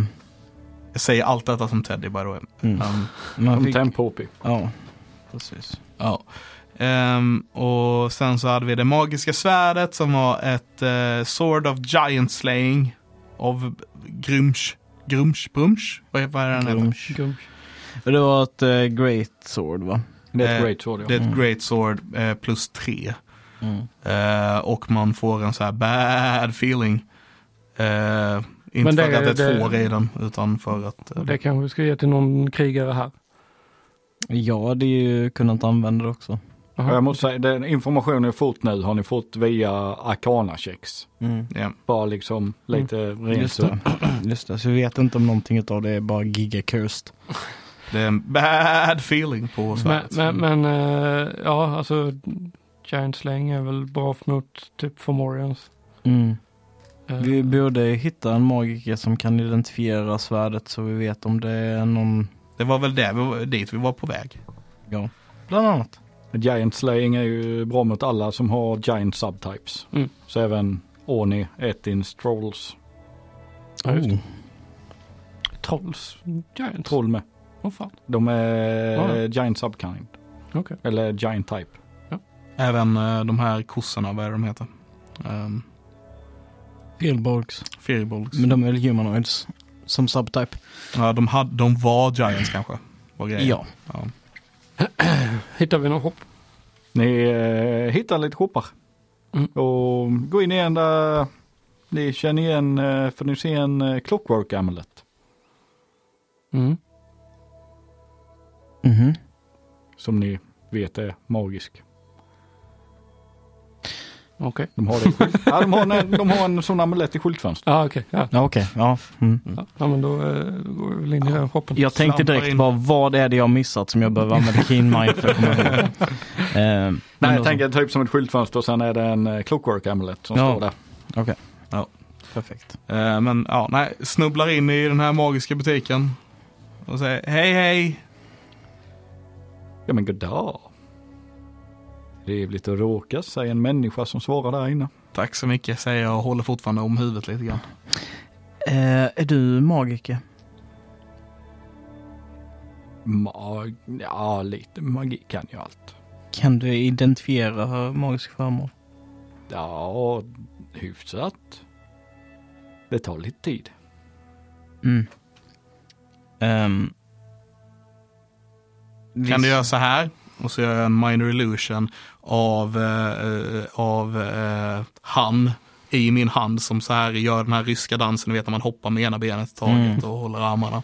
Speaker 1: jag säger allt detta som Teddy by the way.
Speaker 2: Mm.
Speaker 1: Um,
Speaker 2: Man
Speaker 3: Som
Speaker 2: fick,
Speaker 3: tempo-OP.
Speaker 2: ja, precis.
Speaker 1: Ja. Ehm, och sen så hade vi det magiska svärdet som var ett eh, Sword of Giant Slaying av Grumsh. Grumsh? Brumsh? Vad är- vad är det den heter?
Speaker 2: Grumsh. Det var ett eh, great sword va?
Speaker 3: Det är
Speaker 1: Eh,
Speaker 3: ett great sword, ja.
Speaker 1: Det är ett
Speaker 2: Mm.
Speaker 1: Great Sword eh, plus tre.
Speaker 2: Mm.
Speaker 1: Eh, och man får en så här bad feeling. Eh, inte
Speaker 4: Men det-
Speaker 1: för att det är ett
Speaker 4: det-
Speaker 1: får i den, utan för att... eh,
Speaker 4: Det kanske vi ska ge till någon krigare här.
Speaker 2: Ja, det är ju kunnat använda det också.
Speaker 4: Jaha.
Speaker 3: Jag måste säga, den informationen jag fått nu har ni fått via arcana checks
Speaker 2: Mm.
Speaker 1: ja.
Speaker 3: Bara liksom lite rent
Speaker 2: Just,
Speaker 3: så.
Speaker 2: det. Just det, så vi vet inte om någonting utav det är bara giga cursed.
Speaker 1: Det är en bad feeling på
Speaker 4: Men,
Speaker 1: svärdet.
Speaker 4: men, men eh, ja, alltså Giant Slang är väl bra mot typ Formorians.
Speaker 2: Mm.
Speaker 4: Eh,
Speaker 2: Vi borde hitta en magiker som kan identifiera svärdet så vi vet om det är någon,
Speaker 1: Det var väl där vi, var- dit vi var på väg.
Speaker 2: ja, bland annat.
Speaker 3: Giant slaying är ju bra mot alla som har giant subtypes.
Speaker 4: Mm.
Speaker 3: Så även Orni, Ettins, Trolls.
Speaker 4: Ja, just det.
Speaker 2: Oh.
Speaker 4: Trolls.
Speaker 1: Oh.
Speaker 4: Giants.
Speaker 3: Troll med.
Speaker 4: Åh fan.
Speaker 3: De är
Speaker 4: Ja, ja.
Speaker 3: giant subkind.
Speaker 4: Okej.
Speaker 3: Eller giant type.
Speaker 1: Även eh, de här kossorna, vad är de heter? Um,
Speaker 2: Felborgs.
Speaker 1: Firbolgs.
Speaker 2: Men de är väl humanoids som subtype?
Speaker 1: Ja, de, hade, de var Giants kanske? Var grejen.
Speaker 2: Ja.
Speaker 1: ja.
Speaker 4: Hittar vi något hopp?
Speaker 3: Ni eh, hittar lite shoppar.
Speaker 4: Mm.
Speaker 3: Och gå in i en där ni känner igen, eh, för ni ser en eh, clockwork amulet.
Speaker 4: Mm.
Speaker 2: Mhm.
Speaker 3: Som ni vet är magisk.
Speaker 4: Okej.
Speaker 3: De har, det. i skylt- ja, de, har en, de har en sån amulett i skyltfönstret.
Speaker 4: Ja, Ah, okej. Ja.
Speaker 2: Ja, okej. Ja. Mm.
Speaker 4: Ja. ja, men då eh, då går vi väl in i den shoppen.
Speaker 2: Jag tänkte
Speaker 1: Slampar
Speaker 2: direkt
Speaker 1: in.
Speaker 2: bara, vad är det jag har missat som jag behöver använda keen mind för att komma ihåg? Eh, men
Speaker 3: Nej, jag
Speaker 2: då så.
Speaker 3: tänker typ som ett skyltfönster och sen är det en eh, clockwork amulet som
Speaker 2: Ja.
Speaker 3: står där.
Speaker 2: Okej.
Speaker 1: Ja.
Speaker 2: Perfekt.
Speaker 1: Eh, men ja, nej, snubblar in i den här magiska butiken. Och säger hej hej.
Speaker 3: Ja men goddag. Trevligt att råka, säger en människa som svarar där inne.
Speaker 1: Tack så mycket säger jag och håller fortfarande om huvudet lite grann.
Speaker 2: Eh, är du magiker?
Speaker 3: Mag... Ja, lite magi kan ju allt.
Speaker 2: Kan du identifiera magiska föremål?
Speaker 3: Ja, hyfsat. Det tar lite tid.
Speaker 2: Mm. Ehm.
Speaker 1: Kan du
Speaker 2: Visst.
Speaker 1: göra så här? Och så gör jag en minor illusion av, eh, eh, av eh, han i min hand som så här gör den här ryska dansen, ni vet när man hoppar med ena benet i
Speaker 2: Mm.
Speaker 1: taget och håller armarna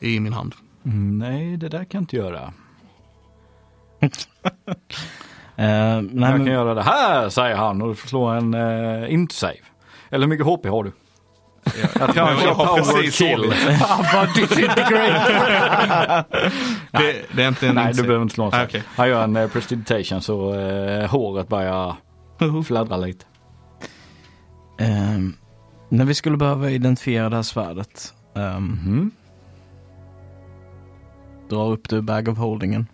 Speaker 1: i min hand.
Speaker 3: Mm, nej, det där kan jag inte göra.
Speaker 2: Eh, nej,
Speaker 3: jag
Speaker 2: men,
Speaker 3: kan göra det här, säger han och slå en eh, int-save. Eller hur mycket HP har du? Jag tror han
Speaker 1: Jag
Speaker 3: kör
Speaker 1: har
Speaker 3: power
Speaker 1: precis
Speaker 3: kill.
Speaker 1: hållit. Det, det är inte en
Speaker 3: Nej, du
Speaker 1: insikt.
Speaker 3: behöver inte slå en
Speaker 1: Ah,
Speaker 3: save.
Speaker 1: okej.
Speaker 3: Han gör en eh, prestidigitation så eh, håret börjar fladdra lite.
Speaker 2: ehm, när vi skulle behöva identifiera det här svärdet. ehm,
Speaker 3: Mhm.
Speaker 2: dra upp det ur bag of holdingen.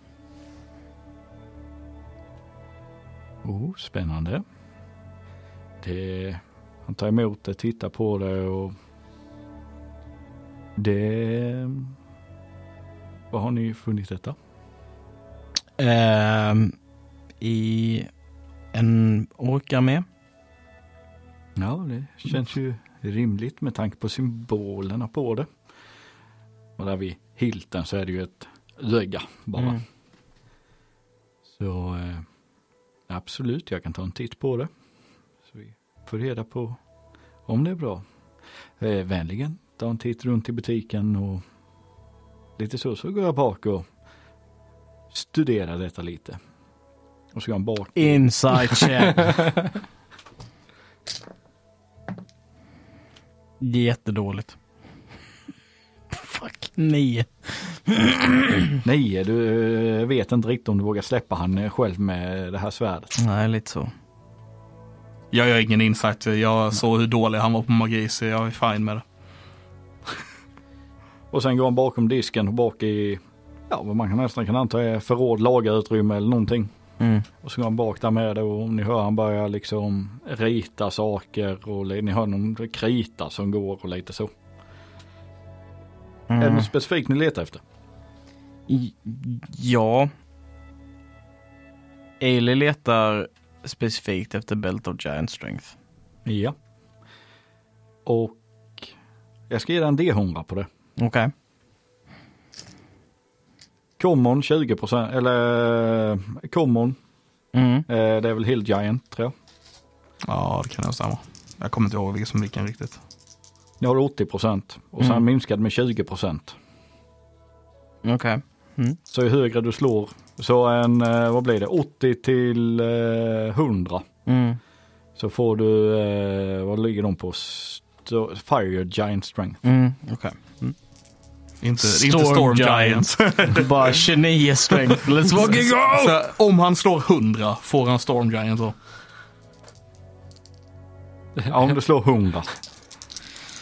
Speaker 3: Oh, spännande. Det, han tar emot det, tittar på det och det... Vad har ni funnit detta?
Speaker 2: Ehm, I en orkarmé.
Speaker 3: Ja, det känns ju rimligt med tanke på symbolerna på det. Och där vid hilten så är det ju ett öga bara.
Speaker 2: Mm.
Speaker 3: Så eh, absolut, jag kan ta en titt på det. Så vi får reda på om det är bra. Eh, vänligen ta en titt runt i butiken och lite så, så går jag bak och studerar detta lite. Och så går han bak.
Speaker 2: Inside check. Jättedåligt. Fuck, nio.
Speaker 3: Nej, du eh, vet inte riktigt om du vågar släppa han eh, själv med det här svärdet.
Speaker 2: Nej, lite så.
Speaker 1: Jag gör ingen insight. Jag såg hur dålig han var på magi så jag är fine med det.
Speaker 3: Och sen går han bakom disken och bak i, ja vad man kan nästan kan anta är förråd, lagerutrymme eller någonting.
Speaker 2: Mm.
Speaker 3: Och så går han bak där med det och ni hör han börjar liksom rita saker och li- ni hör någon krita som går och lite så.
Speaker 2: Mm.
Speaker 3: Är det något specifikt ni letar efter?
Speaker 2: I- Ja. Ailey letar specifikt efter Belt of Giant Strength.
Speaker 3: Ja. Och jag ska ge dig en D100 på det.
Speaker 2: Okej.
Speaker 3: Common 20 procent, eller eh, common,
Speaker 2: Mm.
Speaker 3: eh, det är väl Hill Giant tror jag.
Speaker 1: Ja, det kan nog stämma. Jag kommer inte ihåg vilken som vilken riktigt.
Speaker 3: Ni har 80 procent och sen
Speaker 2: Mm.
Speaker 3: minskad med 20 procent.
Speaker 2: Okej.
Speaker 3: Så ju högre du slår, så en, eh, vad blir det, 80 till eh, 100.
Speaker 2: Mm.
Speaker 3: Så får du, eh, vad ligger de på? Sto- Fire Giant Strength.
Speaker 2: Mm. Okej.
Speaker 1: Inte
Speaker 2: Storm
Speaker 1: Storm, inte Storm Giants.
Speaker 2: Bara 29 strength. Let's fucking go!
Speaker 1: så om han slår 100 får han Storm Giant då.
Speaker 3: Ja, om du slår 100.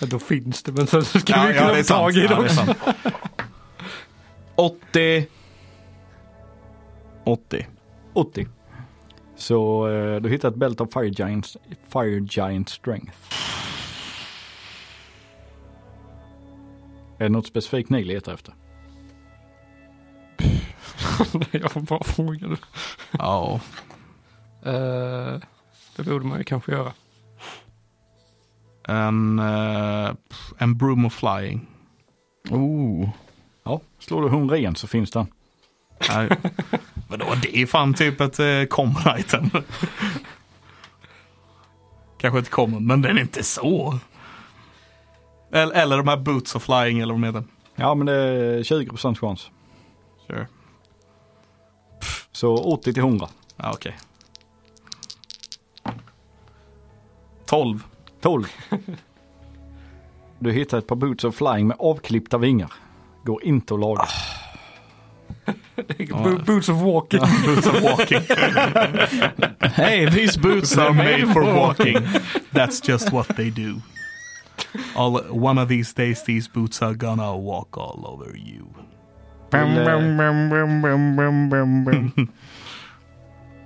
Speaker 4: Ja, Då finns det, men sen så ska vi kunna få tag i
Speaker 1: Ja, det
Speaker 4: dem.
Speaker 1: är sant.
Speaker 2: 80. 80.
Speaker 3: 80. Så eh, du hittar ett bälte av Fire Giant, Fire Giant Strength. Är det något specifikt ni letar efter?
Speaker 4: Jag får bara fråga nu.
Speaker 1: Ja,
Speaker 4: Eh, det borde man ju kanske göra.
Speaker 1: en, eh, pff, en Broom of Flying.
Speaker 2: Oh.
Speaker 3: Ja, slår du 100 igen så finns den.
Speaker 1: Nej. Vadå, det är fan typ ett eh, common item. Kanske inte common, men den är inte så. Eller, eller de här Boots of Flying eller vad de heter.
Speaker 3: Ja, men det är 20 chans.
Speaker 1: Sure.
Speaker 3: Så 80 till 100.
Speaker 1: Ja, okej. 12.
Speaker 3: 12. Du hittar ett par boots of flying med avklippta vingar. Går inte att laga.
Speaker 4: Bo- Boots of walking.
Speaker 1: Boots of walking.
Speaker 2: Hey, these boots
Speaker 1: They're
Speaker 2: are made
Speaker 1: made for
Speaker 2: for walk.
Speaker 1: walking. That's just what they do. All, one of these days these boots are gonna walk all over you.
Speaker 2: Bam, bam, bam, bam, bam, bam, bam, bam.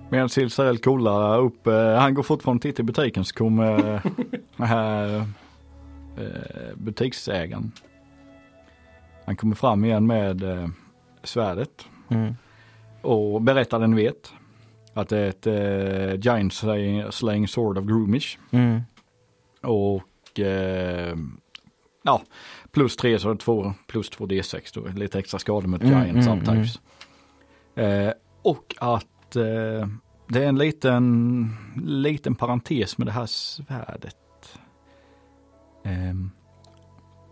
Speaker 3: Medan Silsarell kollar upp, eh, han går fortfarande och tittar i butiken så kommer eh, den här eh, butiksägaren. Han kommer fram igen med eh, svärdet
Speaker 2: Mm.
Speaker 3: och berättar den vet. Att det är ett eh, Giant slaying, slaying Sword of Groomish.
Speaker 2: Mm.
Speaker 3: Och eh, ja, plus 3 så är det 2 plus 2 D6 då, lite extra skador mot
Speaker 2: Mm,
Speaker 3: Giant
Speaker 2: mm,
Speaker 3: sometimes. Eh, och att eh, det är en liten, liten parentes med det här svärdet. Eh,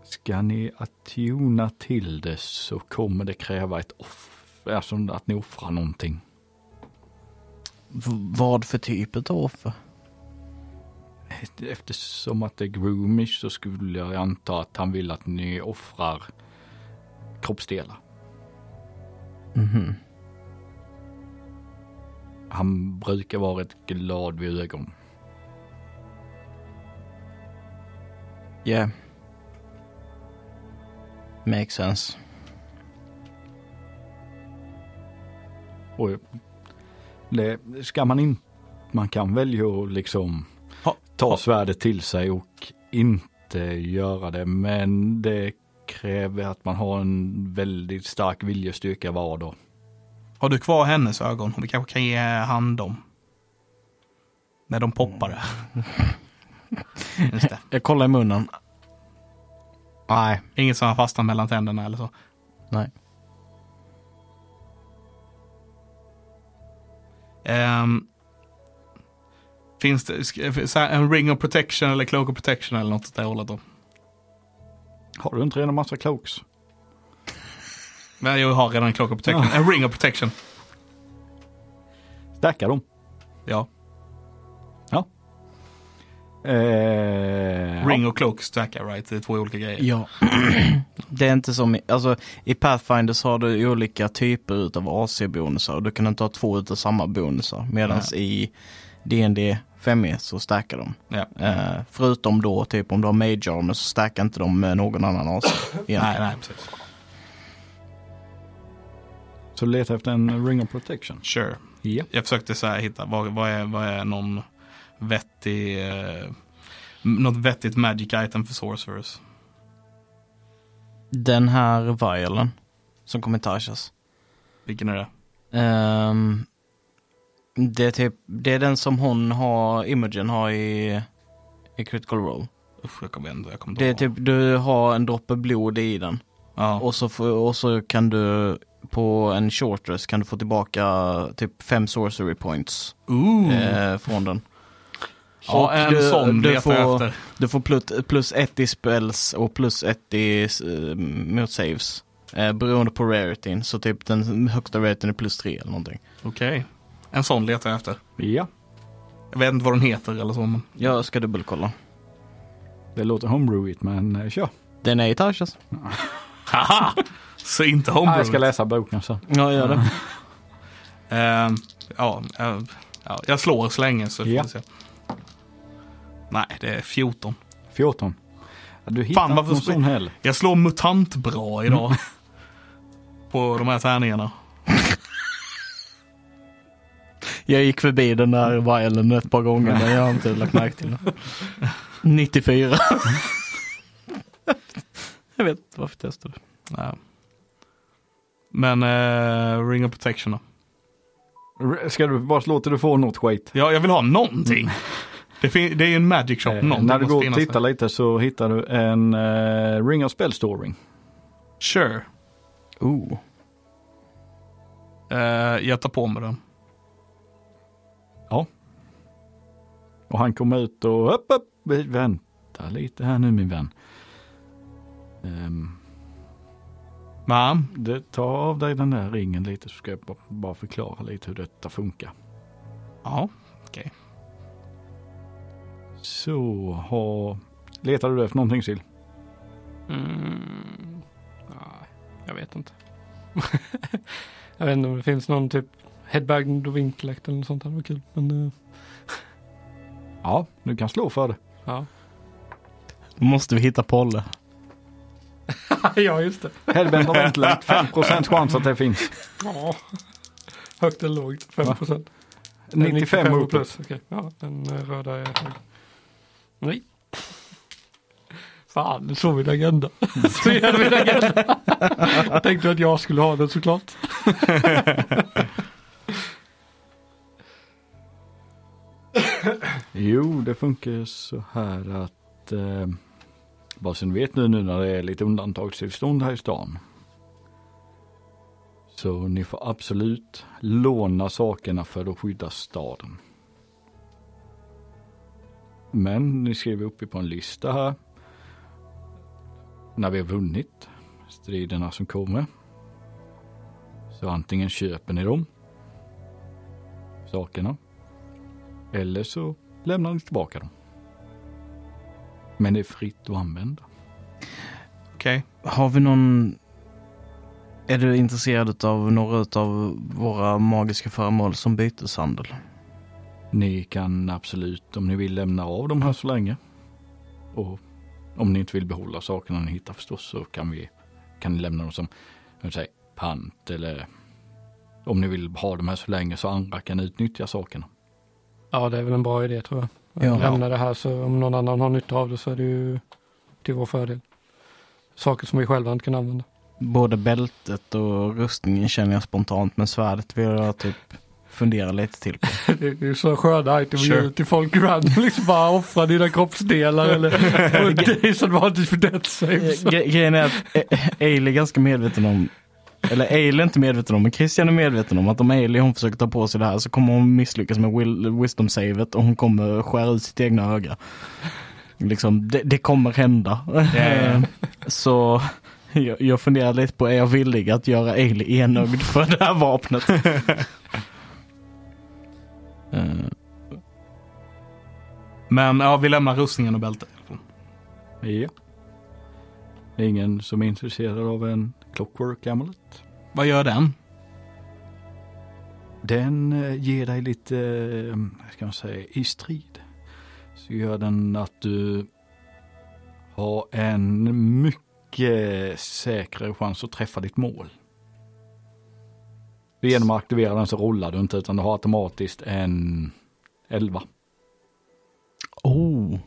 Speaker 3: ska ni attuna till det så kommer det kräva ett off, alltså att ni offrar någonting.
Speaker 2: V- Vad för typ av offer?
Speaker 3: Eftersom att det är groomish så skulle jag anta att han vill att ni offrar kroppsdelar.
Speaker 2: Mhm.
Speaker 3: Han brukar vara rätt glad vid ögon.
Speaker 2: Yeah. Makes sense.
Speaker 3: Och det ska man inte. Man kan välja att liksom
Speaker 1: Ha-
Speaker 3: ta svärdet till sig och inte göra det. Men det kräver att man har en väldigt stark viljestyrka var dag.
Speaker 1: Har du kvar hennes ögon? Vi kanske kan ge han dem. När de poppade.
Speaker 2: Mm.
Speaker 1: Just det.
Speaker 2: Jag kollar i munnen. Nej.
Speaker 1: Inget som har fastnat mellan tänderna eller så.
Speaker 2: Nej.
Speaker 1: Ehm, finns det sk- så här, en ring of protection eller cloak of protection eller något åt det hållet då?
Speaker 3: Har du inte redan massa cloaks?
Speaker 1: Men jag har redan en cloak of protection. En ring of protection.
Speaker 3: Stacka dem.
Speaker 1: Ja.
Speaker 3: Ja. Eh,
Speaker 1: Ring och cloak stackar right? Det är två olika grejer.
Speaker 2: Ja. Det är inte som, i- alltså i Pathfinder så har du olika typer utav AC-bonusar och du kan inte ha två utav samma bonusar. Medan i D&D 5e E så stärker de.
Speaker 1: Ja.
Speaker 2: Eh, förutom då typ om du har Mage Armor så stärker inte de med någon annan AC.
Speaker 1: Nej,
Speaker 2: egentligen.
Speaker 1: nej, precis.
Speaker 3: Så leta efter en ring of protection.
Speaker 1: Sure.
Speaker 3: Ja.
Speaker 1: Jag försökte så här hitta, vad, vad, är, vad är någon vettig, eh, något vettigt magic item för sorcerers?
Speaker 2: Den här Vialen som kommer Tashas.
Speaker 1: Vilken är det?
Speaker 2: Ehm, det, är typ, det är den som hon har, Imogen har i, i Critical Role.
Speaker 1: Usch, jag kommer ändå, jag kommer inte
Speaker 2: Det är
Speaker 1: ihåg.
Speaker 2: typ, du har en droppe blod i den.
Speaker 1: Ja,
Speaker 2: Och så, får- och så kan du på en short rest kan du få tillbaka typ fem sorcery points
Speaker 1: Ooh.
Speaker 2: eh, från den.
Speaker 1: ja
Speaker 2: och
Speaker 1: en
Speaker 3: eh,
Speaker 2: du-
Speaker 1: sån
Speaker 2: du
Speaker 1: letar jag
Speaker 2: får-
Speaker 1: efter.
Speaker 2: Du får plus, plus ett i spells och plus ett i eh, mot saves. Eh, beroende på rarityn, så typ den högsta rarityn är plus tre eller någonting.
Speaker 1: Okej. En sån letar jag efter.
Speaker 3: ja,
Speaker 1: Jag vet inte vad den heter eller så, men
Speaker 2: Jag ska dubbelkolla.
Speaker 3: det låter homebrewigt men eh, kör.
Speaker 2: Den är i alltså. Tarshas.
Speaker 1: haha! Så inte
Speaker 3: Ah, jag ska
Speaker 1: homebrew.
Speaker 3: läsa boken sen.
Speaker 2: Ja, gör det.
Speaker 1: Ehm, ja, eh, ja, jag slår så länge så får vi
Speaker 3: Ja.
Speaker 1: se. Nej, det är 14.
Speaker 3: 14. Ja, Du hittar inte
Speaker 1: varför
Speaker 3: någon
Speaker 1: spring-
Speaker 3: sån heller.
Speaker 1: Jag slår mutant bra idag.
Speaker 3: Mm.
Speaker 1: På de här tärningarna.
Speaker 2: Jag gick förbi den där vialen ett par gånger men jag har inte lagt märke till den. 94. jag vet inte varför jag testade.
Speaker 1: Ja. Men eh, ring of protection då.
Speaker 3: R- Ska du bara låta du få något skit?
Speaker 1: Ja, jag vill ha någonting. Det, fin- det är ju en magic shop.
Speaker 3: Mm. Eh,
Speaker 1: någonting
Speaker 3: när du
Speaker 1: måste
Speaker 3: går och
Speaker 1: finnas
Speaker 3: tittar
Speaker 1: där.
Speaker 3: lite så hittar du en eh, ring of spellstoring.
Speaker 1: Sure.
Speaker 2: Oh.
Speaker 1: Eh, jag tar på mig den.
Speaker 3: Och han kommer ut och upp, upp, vi- vänta lite här nu min vän. Ehm,
Speaker 1: Ma'am,
Speaker 3: det, ta av dig den där ringen lite så ska jag ba- bara förklara lite hur detta funkar.
Speaker 1: ja.
Speaker 3: Så har... Letar du efter någonting Sill?
Speaker 4: Mm, nej, jag vet inte. jag vet inte om det finns någon typ headbag och vinkelakt eller något sånt. Det var kul. Men eh,
Speaker 3: Ja, du kan slå för det.
Speaker 4: ja.
Speaker 2: Då måste vi hitta Polle.
Speaker 4: ja, just det.
Speaker 3: Hellbent har inte lagt 5% chans att det finns.
Speaker 4: Ja. Högt eller lågt? 5 procent?
Speaker 3: 95
Speaker 4: och
Speaker 3: och
Speaker 4: plus. Okej, ja, den eh, röda är hög. Nej. Fan, nu såg vi en agenda. Så hade vi en agenda. Tänkte att jag skulle ha den såklart.
Speaker 3: Jo, det funkar så här att eh, bara så ni vet nu, nu när det är lite undantagstillstånd här i stan. Så ni får absolut låna sakerna för att skydda staden. Men ni skriver upp er på en lista här. När vi har vunnit striderna som kommer. Så antingen köper ni dem, sakerna, eller så lämnar ni tillbaka dem. Men det är fritt att använda.
Speaker 1: Okej.
Speaker 2: Har vi någon... Är du intresserad av några av våra magiska föremål som byteshandel?
Speaker 3: Ni kan absolut, om ni vill, lämna av dem här så länge. Och om ni inte vill behålla sakerna ni hittar förstås så kan vi kan ni lämna dem som hur säger, pant eller om ni vill ha dem här så länge så andra kan utnyttja sakerna.
Speaker 4: Ja, det är väl en bra idé tror jag.
Speaker 2: Ja.
Speaker 4: Lämna det här så om någon annan har nytta av det så är det ju till vår fördel. Saker som vi själva inte kan använda.
Speaker 2: Både bältet och rustningen känner jag spontant men svärdet vill jag typ fundera lite till på.
Speaker 4: Det är ju så sköna item
Speaker 1: Sure.
Speaker 4: sure. till folk random. Liksom bara offra dina kroppsdelar eller få en disadvantage för death saves.
Speaker 2: Eh, gre- Grejen är att eh, eh, Ailey är ganska medveten om, eller Ailey är inte medveten om, men Christian är medveten om att om Ailey hon försöker ta på sig det här så kommer hon misslyckas med will, wisdom savet och hon kommer skära ut sitt egna öga. liksom, det, det kommer hända. Eh,
Speaker 1: ja.
Speaker 2: Så jag, jag funderar lite på, är jag villig att göra Ailey enögd för det här vapnet? Eh,
Speaker 1: Men ja, vi lämnar rustningen och bältet.
Speaker 3: Ja. Det är ingen som är intresserad av en Clockwork Amulet.
Speaker 1: Vad gör den?
Speaker 3: Den eh, ger dig lite, eh, vad ska man säga, i strid. Så gör den att du har en mycket säkrare chans att träffa ditt mål. Genom att aktivera den så rullar du inte utan du har automatiskt en 11.
Speaker 2: oh,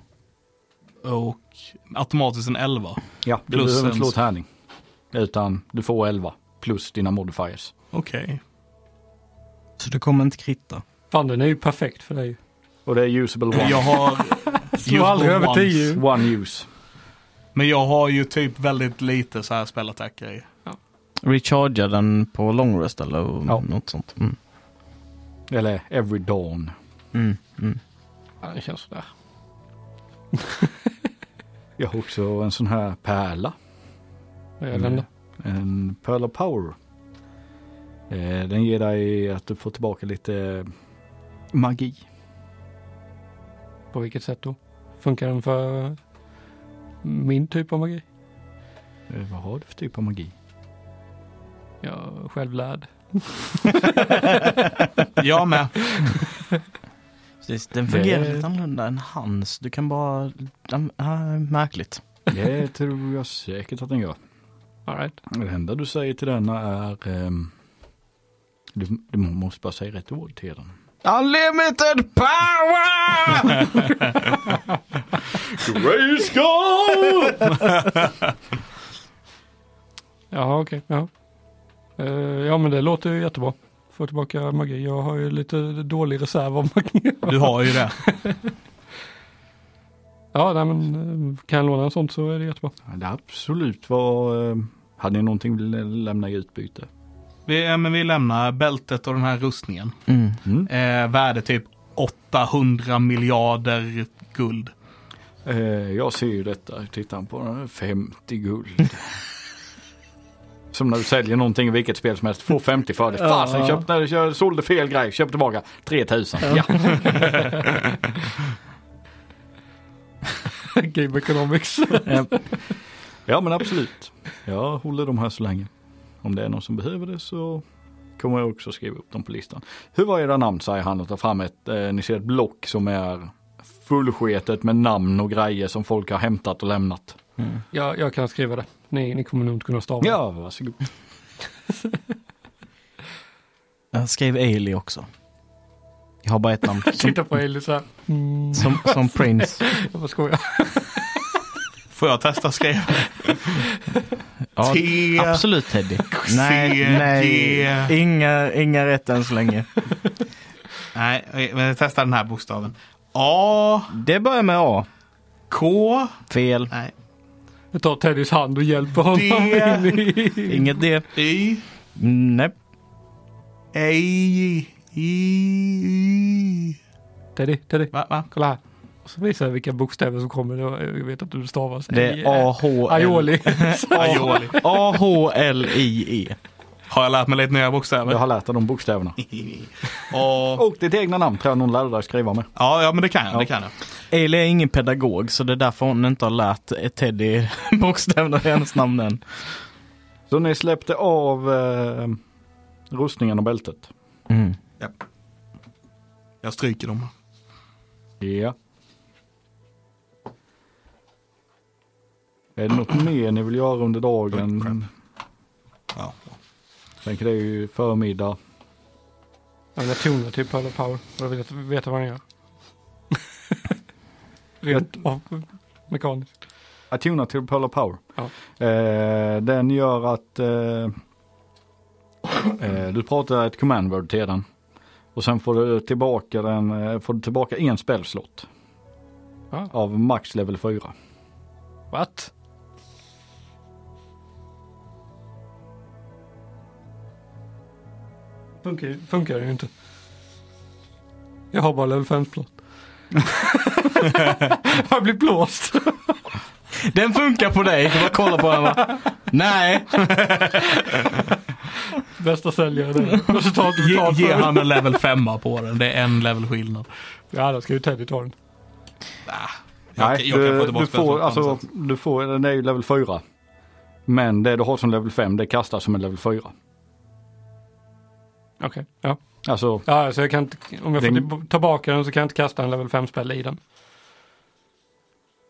Speaker 1: Och automatiskt en 11.
Speaker 3: Ja, du
Speaker 1: Plus
Speaker 3: behöver
Speaker 1: en-
Speaker 3: inte slå tärning. Utan du får 11 plus dina modifiers.
Speaker 1: Okej.
Speaker 2: så du kommer inte kritta?
Speaker 4: Fan den är ju perfekt för dig.
Speaker 3: Och det är usable one.
Speaker 1: Jag har...
Speaker 4: Slå aldrig över
Speaker 1: once.
Speaker 4: 10.
Speaker 3: One use.
Speaker 1: Men jag har ju typ väldigt lite så här spellattacker i.
Speaker 2: Recharga den på long rest eller
Speaker 3: Ja.
Speaker 2: något sånt? Mm.
Speaker 3: Eller every dawn.
Speaker 2: Mm. Mm.
Speaker 4: Ja, det känns sådär.
Speaker 3: Jag har också en sån här pärla.
Speaker 4: Det är den då.
Speaker 3: En Pearl of Power. Eh, Den ger dig att du får tillbaka lite magi.
Speaker 4: På vilket sätt då? Funkar den för min typ av magi?
Speaker 3: Eh, Vad har du för typ av magi?
Speaker 4: Jag är självlärd.
Speaker 1: Jag med.
Speaker 2: Precis, den fungerar
Speaker 3: Det-
Speaker 2: lite annorlunda än hans. Du kan bara... den- ah, märkligt.
Speaker 3: Det tror jag säkert att den gör.
Speaker 4: All right.
Speaker 3: Det enda du säger till denna är ehm, du, du måste bara säga rätt ord till den.
Speaker 2: Unlimited power!
Speaker 4: Jaha, okej. Ja. Eh, ja, men det låter ju jättebra. Få tillbaka magi. Jag har ju lite dålig reserv av magi.
Speaker 1: Du har ju det.
Speaker 4: Ja, nej, men eh, kan jag låna en sån så är det jättebra.
Speaker 3: Det absolut var... ehm, Hade ni någonting att lä- lämna i utbyte?
Speaker 1: Vi, ja, men vi lämnar bältet och den här rustningen.
Speaker 2: Mm.
Speaker 3: Mm.
Speaker 1: Eh, värde typ 800 miljarder guld.
Speaker 3: Eh, jag ser ju detta, tittar på den, 50 guld. Som när du säljer någonting i vilket spel som helst, får 50 för det. Fasen, köpte, jag sålde fel grej, köp tillbaka 3000. Ja.
Speaker 4: Game economics.
Speaker 3: ja men absolut. Jag håller de här så länge. Om det är någon som behöver det så kommer jag också skriva upp dem på listan. Hur var era namn säger han och tar fram ett, eh, ni ser ett block som är fullsketet med namn och grejer som folk har hämtat och lämnat.
Speaker 4: jag, jag kan skriva det. Ni, ni kommer nog inte kunna stava.
Speaker 3: Ja, varsågod.
Speaker 2: Jag skrev Ailey också. Jag har bara ett namn. Som,
Speaker 4: Titta på Ellie så här. Mm,
Speaker 2: som, som Prince.
Speaker 4: jag bara skojar.
Speaker 1: Får jag testa skriva?
Speaker 2: Ja,
Speaker 1: T.
Speaker 2: absolut Teddy. Nej,
Speaker 1: G.
Speaker 2: nej. Inga, inga rätt än så länge.
Speaker 1: Nej, eh, men jag testar den här bokstaven. A,
Speaker 2: Det börjar med A.
Speaker 1: K,
Speaker 2: Fel.
Speaker 1: nej,
Speaker 4: Jag tar Teddys hand och hjälper honom
Speaker 1: Det-
Speaker 4: in i...
Speaker 2: Inget D.
Speaker 1: Y,
Speaker 2: Nej.
Speaker 1: Ej, I,
Speaker 4: Teddy, Teddy,
Speaker 1: va, va?
Speaker 4: kolla här. Och så visar jag vilka bokstäver som kommer. Jag vet att du stavar. så-
Speaker 2: Det är A-H-L-
Speaker 4: Aioli.
Speaker 1: Aioli.
Speaker 2: A-H-L-I-E.
Speaker 1: Har jag lärt mig lite nya bokstäver?
Speaker 3: Jag har lärt dig de bokstäverna.
Speaker 1: A,
Speaker 3: Och ditt egna namn tror jag någon lärde dig skriva med.
Speaker 1: ja, ja, men det kan jag, det kan jag.
Speaker 2: Ailey är ingen pedagog så det är därför hon inte har lärt Teddy bokstäverna i hennes namn än.
Speaker 3: Så ni släppte av eh, rustningen och bältet?
Speaker 2: Mm.
Speaker 1: Jag stryker dem.
Speaker 3: Ja. Är det något mer ni vill göra under dagen?
Speaker 1: Ja.
Speaker 3: Tänker det är ju förmiddag.
Speaker 4: Jag typ vill ha toner till Pearl of Power. Jag vill veta- veta vad den gör. Rent av mekaniskt.
Speaker 3: Attuna till Pearl of Power.
Speaker 4: Ja.
Speaker 3: Eh, den gör att eh, eh, du pratar ett command word till den. Och sen får du tillbaka, den, eh, får du tillbaka en spelslott.
Speaker 4: Ja.
Speaker 3: Av max level 4.
Speaker 4: What? Funkar, ju- funkar ju inte. Jag har bara level 5 plott. Jag blir blåst.
Speaker 2: Den funkar på dig. Du bara kollar på den och bara, Nej.
Speaker 4: Bästa säljaren. Resultat
Speaker 1: Ge,
Speaker 4: betalt
Speaker 1: ge
Speaker 4: för.
Speaker 1: han en level 5 på den. Det är en level skillnad.
Speaker 4: Ja, då ska ju Teddy ta den.
Speaker 1: Jag,
Speaker 3: Nej,
Speaker 1: jag kan få
Speaker 3: du,
Speaker 1: tillbaka
Speaker 3: du,
Speaker 1: spelet på
Speaker 3: får,
Speaker 1: ett annat
Speaker 3: alltså,
Speaker 1: sätt.
Speaker 3: du får, den är ju level 4. Men det du har som level 5 det kastas som en level 4.
Speaker 4: Okej, ja.
Speaker 3: Alltså,
Speaker 4: Ja, så jag kan inte, om jag får
Speaker 3: Den-
Speaker 4: tillb- tillbaka den så kan jag inte kasta en level 5-spel i den.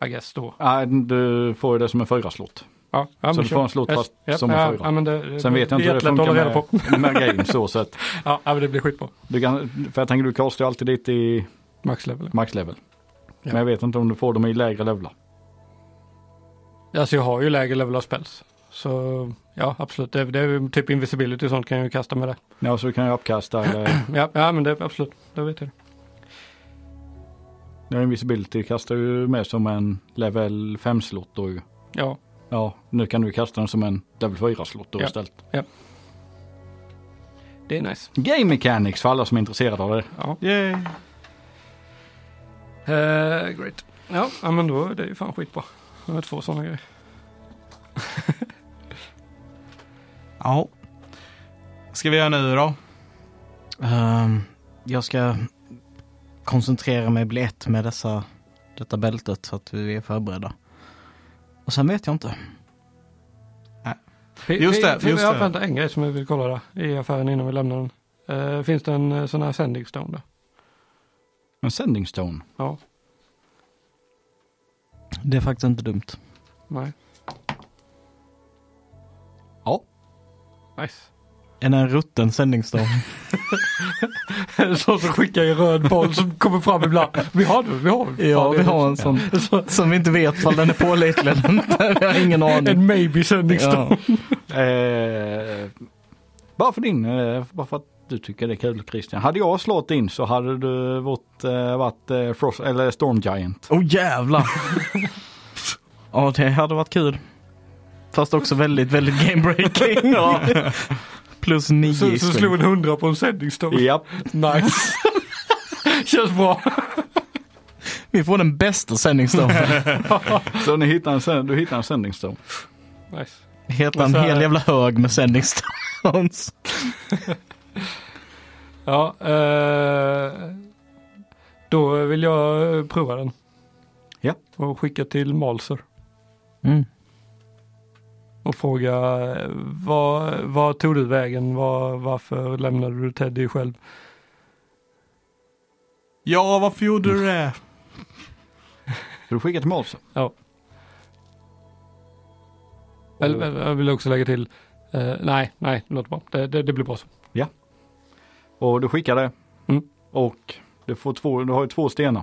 Speaker 4: I guess då.
Speaker 3: nej, du får ju det som en 4-slott.
Speaker 4: Ja, ja,
Speaker 3: Så
Speaker 4: men
Speaker 3: du
Speaker 4: kör.
Speaker 3: får en slott
Speaker 4: Yes,
Speaker 3: fast
Speaker 4: ja,
Speaker 3: som en
Speaker 4: ja,
Speaker 3: fyra.
Speaker 4: Ja, men det,
Speaker 3: Sen vet jag inte
Speaker 4: det
Speaker 3: hur
Speaker 4: är
Speaker 3: det
Speaker 4: jättelätt att hålla reda
Speaker 3: funkar
Speaker 4: på.
Speaker 3: med, med games. Så, så att
Speaker 4: Ja, ja, men det blir skitbra.
Speaker 3: du kan, för jag tänker du kastar ju alltid dit i
Speaker 4: Max level.
Speaker 3: max level.
Speaker 4: Ja.
Speaker 3: Men jag vet inte om du får dem i lägre levelar.
Speaker 4: Alltså jag har ju lägre level av spells. Så ja, absolut. Det, det är ju typ invisibility och sånt kan jag ju kasta med det.
Speaker 3: Ja, så kan jag uppkasta eller
Speaker 4: Ja, ja men det absolut. Det vet jag.
Speaker 3: ja, invisibility kastar ju med som en level 5-slott då ju.
Speaker 4: Ja,
Speaker 3: Ja, nu kan du kasta den som en level 4-slott då
Speaker 4: Ja.
Speaker 3: istället.
Speaker 4: det är nice.
Speaker 3: Game mechanics för alla som är intresserade av det.
Speaker 4: Ja,
Speaker 1: Yay.
Speaker 4: Eh, great. Ja, ja, men då är det ju fan skitbra. Jag har två sådana grejer.
Speaker 1: Ja. Ska vi göra nu då?
Speaker 2: Ehm, jag ska koncentrera mig, bli ett med dessa, detta bältet så att vi är förberedda. Och sen vet jag inte.
Speaker 1: Just det, just
Speaker 4: jag
Speaker 1: det.
Speaker 4: vänta, en grej som jag vill kolla där i affären innan vi lämnar den. Eh, finns det en eh, sån här sending stone där?
Speaker 3: En sending stone.
Speaker 4: Ja,
Speaker 2: Det är faktiskt inte dumt.
Speaker 4: nej,
Speaker 3: Ja.
Speaker 4: nice.
Speaker 2: Är det en rutten sändningsdag?
Speaker 4: Sån som skickar i röd boll som kommer fram ibland. Vi har det, vi har det.
Speaker 2: ja, vi har en sån som vi inte vet om den är pålitlig eller inte. Jag har ingen aning.
Speaker 4: En maybe sending stone.
Speaker 2: Ja.
Speaker 3: Eh, bara för din, eh, bara för att du tycker det är kul Christian. Hade jag slått in så hade du varit, eh, varit eh, Frost, eller Storm Giant.
Speaker 2: Oh jävlar! ja, det hade varit kul. Fast också väldigt, väldigt game-breaking. Plus nio
Speaker 4: Så,
Speaker 2: i
Speaker 4: så
Speaker 2: swing.
Speaker 4: slog en hundra på en sending stone.
Speaker 3: Japp.
Speaker 4: Nice. Känns bra.
Speaker 2: Vi får den bästa sändningsdagen.
Speaker 3: Så ni hittar en, sen- du hittar en sending stone.
Speaker 4: Nice.
Speaker 2: Heta en
Speaker 4: Och så här-
Speaker 2: hel jävla hög med sändningsstones.
Speaker 4: Ja, eh, då vill jag eh, prova den.
Speaker 3: Ja.
Speaker 4: Och skicka till Malser
Speaker 2: Mm.
Speaker 4: och fråga eh, vad, vad tog du vägen? Var, varför lämnade du Teddy själv?
Speaker 1: Ja, varför gjorde du det?
Speaker 3: Så du skickar till Målsen.
Speaker 4: Eller, eller jag vill också lägga till, eh, nej, nej, det låter bra. Det, det, det blir bra så.
Speaker 3: Och du skickar det.
Speaker 4: Mm.
Speaker 3: Och du, får två, du har ju två stenar.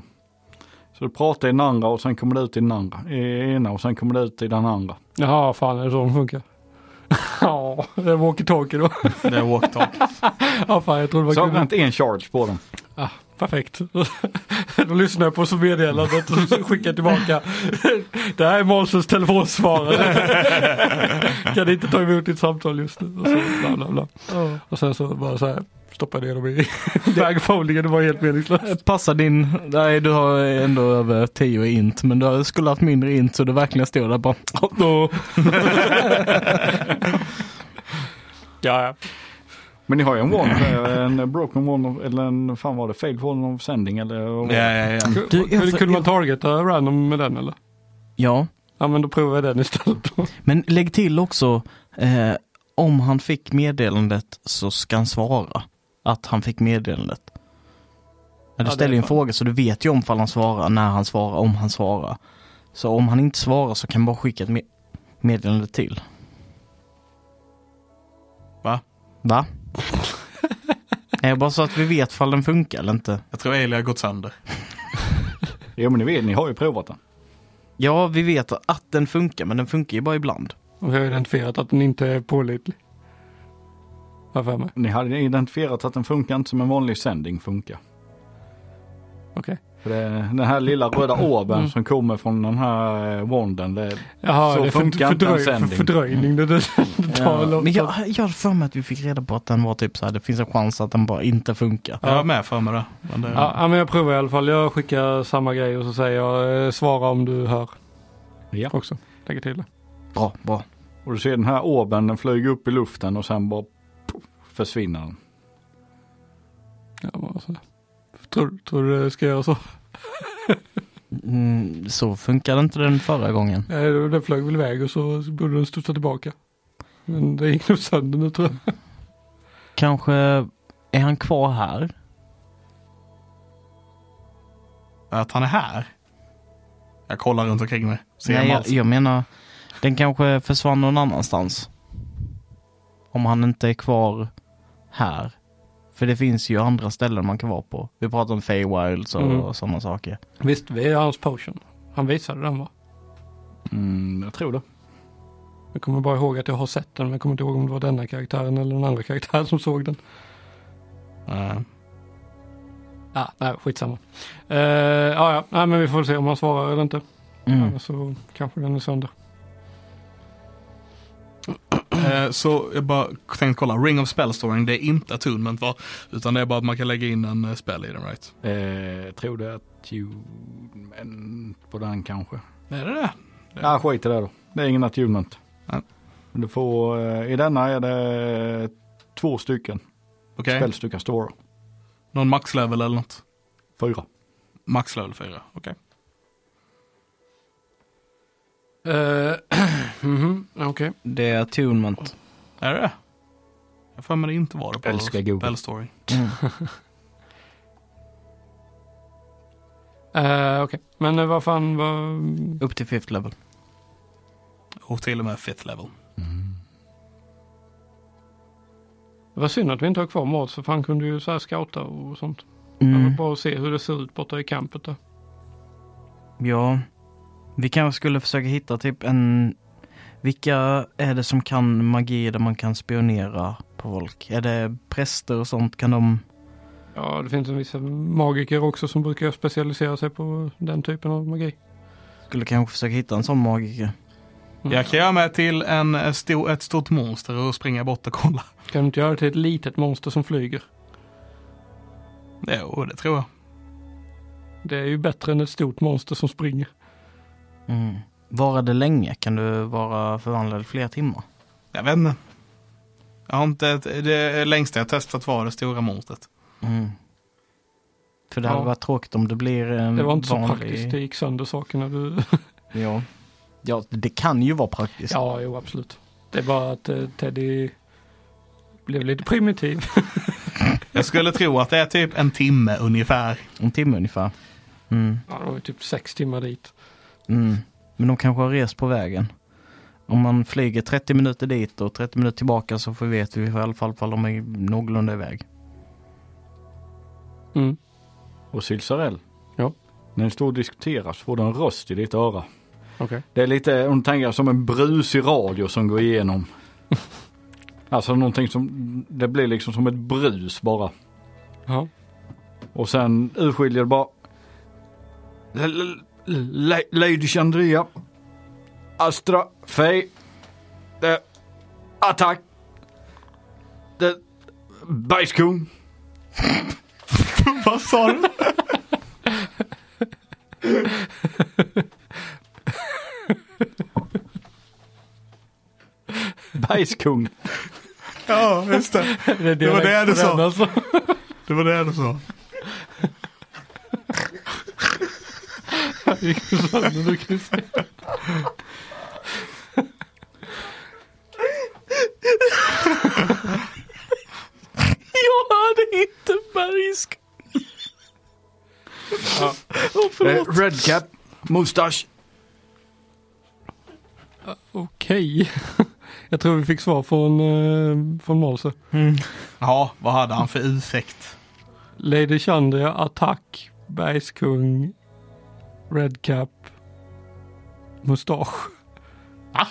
Speaker 3: Så du pratar i den andra och sen kommer det ut i den andra. I ena och sen kommer det ut i den andra.
Speaker 4: Jaha, fan är det så det funkar? Ja, det är walkie-talkie då.
Speaker 1: Det är walk talk.
Speaker 4: Ja, fan jag trodde det
Speaker 3: Så
Speaker 4: var
Speaker 3: har
Speaker 4: kul.
Speaker 3: du inte en charge på den.
Speaker 4: Perfekt. Då lyssnar jag på så meddelandet och så skickar jag tillbaka. Det här är Månsens telefonsvarare. Kan inte ta emot ditt samtal just nu. Och, så, bla, bla, bla. och sen så bara så här stoppade jag dem i bagfoldingen. Det var helt meningslöst.
Speaker 2: Passar din, nej du har ändå över 10 int men du skulle haft mindre int så du verkligen stod där bara.
Speaker 4: Ja, ja.
Speaker 3: Men ni har ju en one, en broken one, eller en, fan var det, failed one of sending eller? vad var
Speaker 1: Ja,
Speaker 3: det?
Speaker 1: ja, ja.
Speaker 2: Du, jag-
Speaker 4: Kunde, kunde man targeta random med den eller?
Speaker 2: Ja,
Speaker 4: Ja men då provar jag den istället. då.
Speaker 2: men lägg till också eh, om han fick meddelandet så ska han svara att han fick meddelandet. Ja,
Speaker 4: det
Speaker 2: du
Speaker 4: är
Speaker 2: ställer ju en
Speaker 4: fan.
Speaker 2: fråga så du vet ju om fall han svarar, när han svarar, om han svarar. Så om han inte svarar så kan man bara skicka ett me- meddelande till.
Speaker 1: Va?
Speaker 2: Va? Nej, bara så att vi vet fall den funkar eller inte.
Speaker 1: Jag tror Eli har gått sönder.
Speaker 3: Jo men ni vet, ni har ju provat den.
Speaker 2: Ja, vi vet att den funkar, men den funkar ju bara ibland.
Speaker 4: Och vi har identifierat att den inte är pålitlig. Har jag för mig.
Speaker 3: Ni hade identifierat att den funkar inte som en vanlig sending funkar.
Speaker 4: Okej.
Speaker 3: För det, den här lilla röda orben som kommer från den här eh, wanden. Det,
Speaker 4: Jaha,
Speaker 3: Så
Speaker 4: det är
Speaker 3: funkar
Speaker 4: för,
Speaker 3: inte en
Speaker 4: fördröj,
Speaker 3: sändning.
Speaker 4: för, fördröjning. Det, det, det tar väl
Speaker 2: Men jag, jag har för mig att vi fick reda på att den var typ så här, det finns en chans att den bara inte funkar.
Speaker 1: Jag är med för mig det. Men det
Speaker 4: Ja, ja, men jag provar i alla fall. Jag skickar samma grej och så säger jag eh, svara om du hör
Speaker 3: ja.
Speaker 4: också. Lägger till det.
Speaker 2: Bra, bra.
Speaker 3: Och du ser den här orben, den flyger upp i luften och sen bara poff, försvinner den.
Speaker 4: Ja, bara så. Tror, tror du det ska göra så?
Speaker 2: Mm, så funkade inte den förra gången.
Speaker 4: Nej, Den flög väl iväg och så borde den studsa tillbaka. Men det gick nog sönder nu tror jag.
Speaker 2: Kanske är han kvar här?
Speaker 1: Att han är här. Jag kollar runt omkring mig. Ser
Speaker 2: Nej,
Speaker 1: Nej,
Speaker 2: jag, jag menar, den kanske försvann någon annanstans. Om han inte är kvar här. För det finns ju andra ställen man kan vara på. Vi pratar om Feywilds och,
Speaker 4: Mm.
Speaker 2: och sådana saker.
Speaker 4: Visst, vi är hans potion. Han visade den va?
Speaker 3: Mm, jag tror det.
Speaker 4: Jag kommer bara ihåg att jag har sett den men jag kommer inte ihåg om det var denna karaktären eller den andra karaktären som såg den. Ah, nej, skitsamma. Uh, ja, ja, nej men vi får väl se om han svarar eller inte.
Speaker 2: Mm.
Speaker 4: Annars så kanske den är sönder.
Speaker 1: Eh, Så jag bara tänkte kolla, Ring of Spellstoring det är inte attunement va? Utan det är bara att man kan lägga in en eh, spell i den right?
Speaker 3: Eh, tror du att attunement på den kanske?
Speaker 1: Är det det?
Speaker 3: Ja, skit i det då. Det är ingen attunement.
Speaker 1: Nej.
Speaker 3: Du får, eh, I denna är det två stycken
Speaker 1: Okej,
Speaker 3: spelstycken stora.
Speaker 1: någon maxlevel eller något?
Speaker 3: Fyra.
Speaker 1: Maxlevel 4, okej.
Speaker 4: Uh, mhm, Okej.
Speaker 2: Det är attunement.
Speaker 1: Är det det? Jag har för mig det inte var det på
Speaker 3: Älskar Google.
Speaker 1: Spellstoring.
Speaker 2: Mm.
Speaker 4: Eh, Okej, men eh, vad fan vad...
Speaker 2: Upp till fifth level.
Speaker 1: Och till och med fifth level.
Speaker 4: Det var synd att vi inte har kvar mat så fan kunde ju så här scouta och sånt. Det var
Speaker 2: Mm.
Speaker 4: bara att se hur det ser ut borta i campet där.
Speaker 2: Ja, vi kanske skulle försöka hitta typ en... Vilka är det som kan magi där man kan spionera på folk? Är det präster och sånt? Kan de...
Speaker 4: Ja, det finns en viss magiker också som brukar specialisera sig på den typen av magi.
Speaker 2: Skulle kanske försöka hitta en sån magiker.
Speaker 4: Mm.
Speaker 1: Jag kan göra mig till en eh, stor, ett stort monster och springa bort och kolla.
Speaker 4: Kan du inte göra det till ett litet monster som flyger?
Speaker 1: Jo, det tror jag.
Speaker 4: Det är ju bättre än ett stort monster som springer.
Speaker 2: Mm. Vara det länge? Kan du vara förvandlad i flera timmar?
Speaker 1: Jag vet inte. Jag har inte, det längsta jag testat var det stora monstret.
Speaker 2: Mm. För det hade
Speaker 4: Ja.
Speaker 2: varit tråkigt om det blir en
Speaker 4: Det var inte så
Speaker 2: Mm, vanlig...
Speaker 4: praktiskt, typ. det gick sönder saker när du...
Speaker 2: Ja. ja, det kan ju vara praktiskt.
Speaker 4: Ja, jo absolut. Det är bara att eh, Teddy blev lite primitiv.
Speaker 1: Jag skulle tro att det är typ en timme ungefär.
Speaker 2: En timme ungefär. Mm.
Speaker 4: Ja, det var ju typ sex timmar dit.
Speaker 2: Mm. Men de kanske har rest på vägen. Om man flyger 30 minuter dit och 30 minuter tillbaka så får vi vet vi i alla fall om de är någorlunda iväg.
Speaker 4: Mm.
Speaker 3: Och Sylsarell.
Speaker 4: Ja.
Speaker 3: När ni står och diskuterar så får du en röst i ditt öra.
Speaker 4: Okej.
Speaker 3: Det är lite, om du tänker som en brusig radio som går igenom. alltså någonting som, det blir liksom som ett brus bara.
Speaker 4: Ja.
Speaker 3: Och sen urskiljer det bara. L- l- l- Lady Chandria. Astra. Fej. Eh, attack. Det, bajskung.
Speaker 1: Vad sa du?
Speaker 3: Bajskung.
Speaker 1: Ja, just det.
Speaker 4: Det,
Speaker 1: var det du sa.
Speaker 4: Alltså.
Speaker 1: Det var det du sa.
Speaker 4: Det gick ju sönder, du kan ju se.
Speaker 2: Jag hade inte bergsk.
Speaker 3: Eh, Redcap. Mustasch.
Speaker 4: Okej. Jag tror vi fick svar från, eh, från Målse.
Speaker 1: Ja, vad hade han för ursäkt?
Speaker 4: Lady Chandria, Attack, Bergskung, Redcap, Mustasch.
Speaker 1: Va?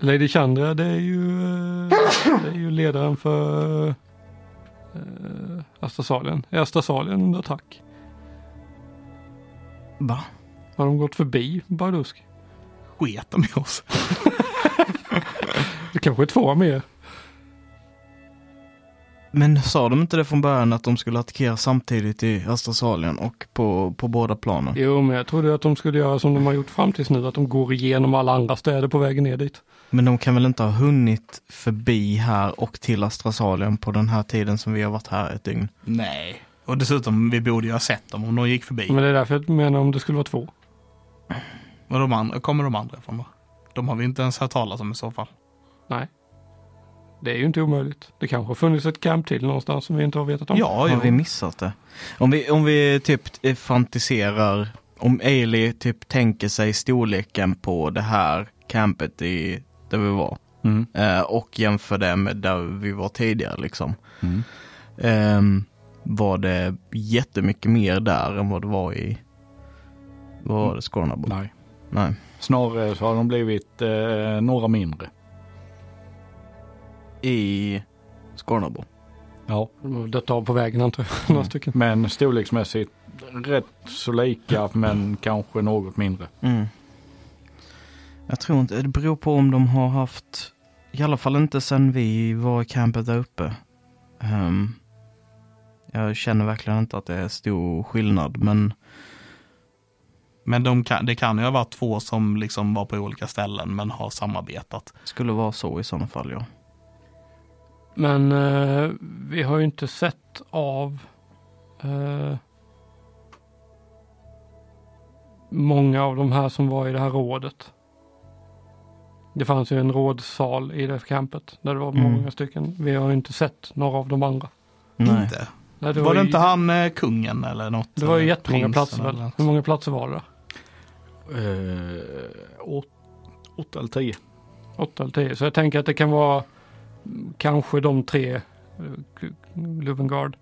Speaker 4: Lady Chandria det är ju, eh, det är ju ledaren för eh, Astasalien. Är Astasalien under attack?
Speaker 2: Va?
Speaker 4: Har de gått förbi Bardusk?
Speaker 1: Sket de i oss?
Speaker 4: Det kanske är två mer.
Speaker 2: Men sa de inte det från början att de skulle attackera samtidigt i Astrasalien och på, på båda planen?
Speaker 4: Jo, men jag trodde att de skulle göra som de har gjort fram tills nu, att de går igenom alla andra städer på vägen ner dit.
Speaker 2: Men de kan väl inte ha hunnit förbi här och till Astrasalien på den här tiden som vi har varit här ett dygn?
Speaker 1: Nej. Mm. Och dessutom, vi borde ju ha sett dem om de gick förbi.
Speaker 4: Men det är därför jag menar om det skulle vara två.
Speaker 1: Och de andra, kommer de andra ifrån då? De har vi inte ens hört talas om i så fall.
Speaker 4: Nej. Det är ju inte omöjligt. Det kanske har funnits ett camp till någonstans som vi inte har vetat om.
Speaker 1: Ja,
Speaker 2: Har vi
Speaker 1: jo.
Speaker 2: missat det? Om vi, om vi typ eh, fantiserar, om Ailey typ tänker sig storleken på det här campet i, där vi var
Speaker 3: Mm.
Speaker 2: eh, och jämför det med där vi var tidigare liksom.
Speaker 3: Mm.
Speaker 2: Ehm, var det jättemycket mer där än vad det var i, vad var det, Skånabo?
Speaker 3: Nej.
Speaker 2: Nej.
Speaker 3: Snarare så har de blivit eh, några mindre.
Speaker 2: I Skånabo.
Speaker 3: Ja.
Speaker 4: De har dött av på vägen antar jag.
Speaker 1: Mm.
Speaker 4: Några stycken.
Speaker 3: Men storleksmässigt rätt så lika men kanske något mindre.
Speaker 2: Mm. Jag tror inte, det beror på om de har haft, i alla fall inte sen vi var i campet där uppe. Ehm, jag känner verkligen inte att det är stor skillnad, men
Speaker 1: Men de kan, det kan ju ha varit två som liksom var på olika ställen men har samarbetat.
Speaker 2: skulle vara så i sådana fall ja.
Speaker 4: Men eh, vi har ju inte sett av eh, många av de här som var i det här rådet. Det fanns ju en rådsal i det här campet där det var
Speaker 2: Mm.
Speaker 4: många stycken. Vi har ju inte sett några av de andra.
Speaker 2: Nej.
Speaker 1: Inte.
Speaker 4: Nej,
Speaker 1: var det
Speaker 4: ju-
Speaker 1: inte han eh, kungen eller något?
Speaker 4: Det var ju
Speaker 1: Eller
Speaker 4: jättemånga
Speaker 1: prinsen
Speaker 4: platser
Speaker 1: eller
Speaker 4: väl?
Speaker 1: något?
Speaker 4: Hur många platser var det?
Speaker 3: Eh, åt, åtta eller tio.
Speaker 4: Åtta eller tio. Så jag tänker att det kan vara mm, kanske de tre. eh, K- Luvengard.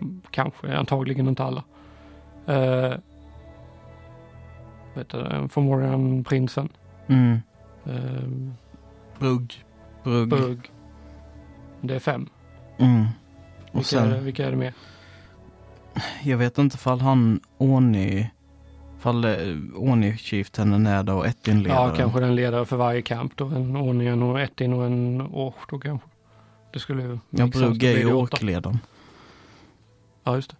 Speaker 4: Mm, Kanske, antagligen inte alla. Uh, vet du, Formorian-prinsen.
Speaker 2: Mm.
Speaker 4: eh,
Speaker 1: Brugg.
Speaker 2: Brugg.
Speaker 4: Burg. Det är fem.
Speaker 2: Mm.
Speaker 4: Vilka,
Speaker 2: Och sen,
Speaker 4: är, det, vilka är det mer?
Speaker 2: jag vet inte fall han Orny, fall eh, Orny-chieftainen är där och Ettin-ledaren.
Speaker 4: Ja, kanske den ledare för varje kamp då. En Onion och ett in och en Orch då kanske. Det skulle ju...
Speaker 2: Ja,
Speaker 4: mixas, då
Speaker 2: Brugg är
Speaker 4: blir
Speaker 2: ju
Speaker 4: det åtta.
Speaker 2: orkledaren.
Speaker 4: Ja, just det.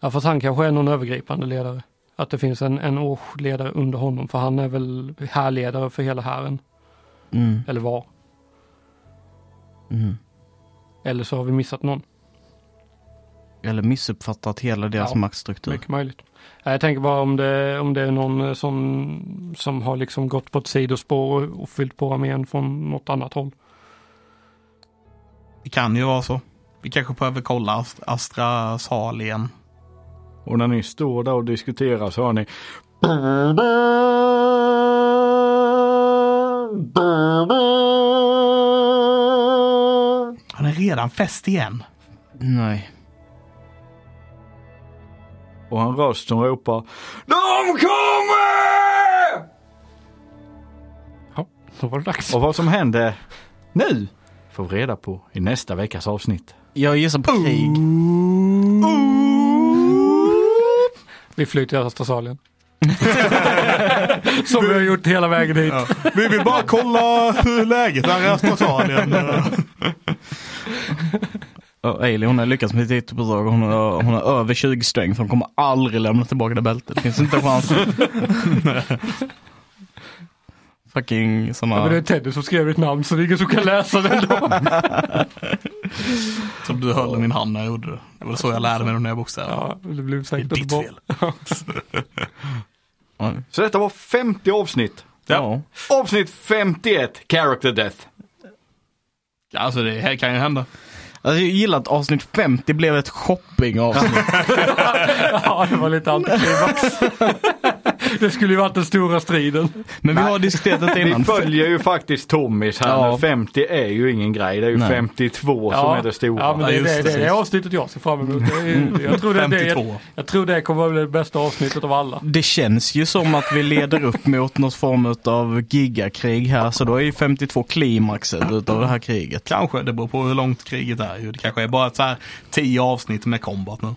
Speaker 4: Ja, fast han kanske är någon övergripande ledare. Att det finns en, en årsledare under honom, för han är väl härledare för hela hären,
Speaker 2: Mm.
Speaker 4: eller var.
Speaker 2: Mm.
Speaker 4: Eller så har vi missat någon,
Speaker 2: Eller missuppfattat hela deras
Speaker 4: Ja,
Speaker 2: maktstruktur.
Speaker 4: mycket möjligt. Ja, Jag tänker bara om det, om det är någon eh, som, som har liksom gått på ett sidospår och, och fyllt på armén från något annat håll.
Speaker 1: Det kan ju vara så. Vi kanske behöver kolla Ast- Astra sal igen.
Speaker 3: Och när ni står där och diskuterar så hör ni
Speaker 1: Har ni redan fest igen?
Speaker 2: Nej.
Speaker 3: och en röst som ropar De kommer!
Speaker 4: Ja, då var det dags.
Speaker 3: Och vad som hände nu får vi reda på i nästa veckas avsnitt.
Speaker 2: Jag gissar på krig.
Speaker 4: Vi flyter till Astrasalien. som vi har gjort hela vägen hit.
Speaker 1: Vi vill bara kolla hur läget är i Astra sal igen.
Speaker 2: Och Ailey hon har lyckats med sitt uppdrag. Hon har, hon har över 20 sträng så hon kommer aldrig lämna tillbaka det bältet. Det finns inte en chans. Fucking
Speaker 4: Ja, men det är
Speaker 2: såna.
Speaker 4: Teddy som skrev ditt namn så det är ingen som kan läsa det ändå.
Speaker 1: Som du höll i min hand när jag gjorde det. Det var så jag lärde mig de nya bokstäverna.
Speaker 4: Ja, det blev
Speaker 1: Det är
Speaker 4: säkert
Speaker 1: ditt
Speaker 4: bra.
Speaker 1: fel.
Speaker 2: Ja.
Speaker 3: Så detta var 50 avsnitt.
Speaker 2: ja.
Speaker 3: Avsnitt 51, Character Death.
Speaker 1: Alltså det här kan ju hända.
Speaker 2: Alltså, jag gillar att avsnitt 50 blev ett shoppingavsnitt.
Speaker 4: Ja, det var lite antiklimax. det skulle ju varit den stora striden.
Speaker 2: Men vi har diskuterat det
Speaker 3: Vi
Speaker 2: innan.
Speaker 3: följer ju faktiskt Tommis här
Speaker 2: Ja.
Speaker 3: nu. 50 är ju ingen grej, det är ju
Speaker 2: Nej.
Speaker 3: 52 som är det stora.
Speaker 4: Ja, men det,
Speaker 1: Ja,
Speaker 4: är
Speaker 1: just Mm.
Speaker 4: det, det,
Speaker 1: det,
Speaker 4: är det avsnittet jag ser fram emot. Det är, jag, tror det, det, jag,
Speaker 1: 52.
Speaker 4: jag tror det kommer att bli det bästa avsnittet av alla.
Speaker 2: Det känns ju som att vi leder upp mot någon form av gigakrig här, så då är ju 52 klimaxet utav det här kriget.
Speaker 1: Kanske, det beror på hur långt kriget är. ju. Det kanske är bara ett så här tio avsnitt med kombat nu.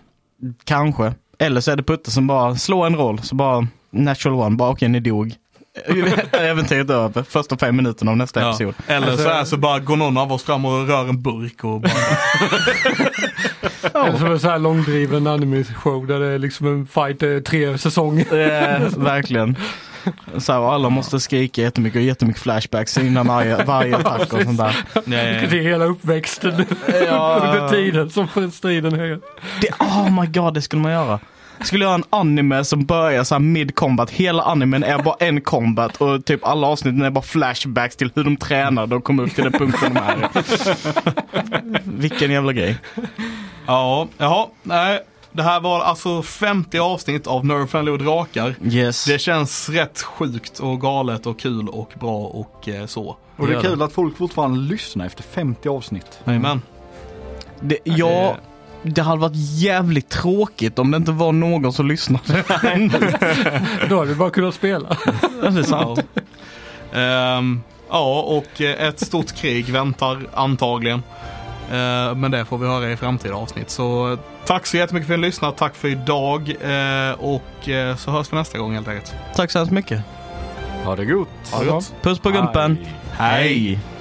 Speaker 2: Kanske. Eller så är det Putte som bara slår en roll, så bara natural one, bara okej ni dog. Äventyret är över, första fem minuterna av nästa
Speaker 1: Ja.
Speaker 2: episod.
Speaker 1: Eller
Speaker 4: Alltså-
Speaker 1: så här så bara går någon av oss fram och rör en burk och bara,
Speaker 4: Eller som en så här långdriven anime-show där det är liksom en fight eh, tre säsonger.
Speaker 2: Eh, verkligen. Så här, och alla måste skrika jättemycket och jättemycket flashbacks innan varje, varje attack och sånt där.
Speaker 1: nej.
Speaker 4: Det är hela uppväxten under tiden som striden är.
Speaker 2: Det, oh my god, det skulle man göra. Jag skulle göra en anime som börjar så här mid-combat. Hela animen är bara en combat och typ alla avsnitten är bara flashbacks till hur de tränar och kommer upp till den punkten de är i. Vilken jävla grej.
Speaker 1: Ja, jaha, nej. Det här var alltså 50 avsnitt av Nerdfriendly och Drakar.
Speaker 2: Yes.
Speaker 1: Det känns rätt sjukt och galet och kul och bra och eh, så.
Speaker 3: Och det är
Speaker 2: Gör det.
Speaker 3: kul att folk fortfarande lyssnar efter 50 avsnitt.
Speaker 1: Amen.
Speaker 2: Mm. Det, ja, det hade varit jävligt tråkigt om det inte var någon som lyssnade.
Speaker 4: Då hade vi bara kunnat spela.
Speaker 2: det är sant.
Speaker 1: Ehm, ja, och eh, ett stort krig väntar antagligen. Eh, men det får vi höra i framtida avsnitt. Så eh, tack så jättemycket för att ni lyssnade. Tack för idag. Eh, och eh, så hörs vi nästa gång helt enkelt.
Speaker 2: Tack så hemskt mycket.
Speaker 3: Ha det gott!
Speaker 1: Ha det gott.
Speaker 2: Puss på gumpen.
Speaker 3: Hej.
Speaker 1: Hej.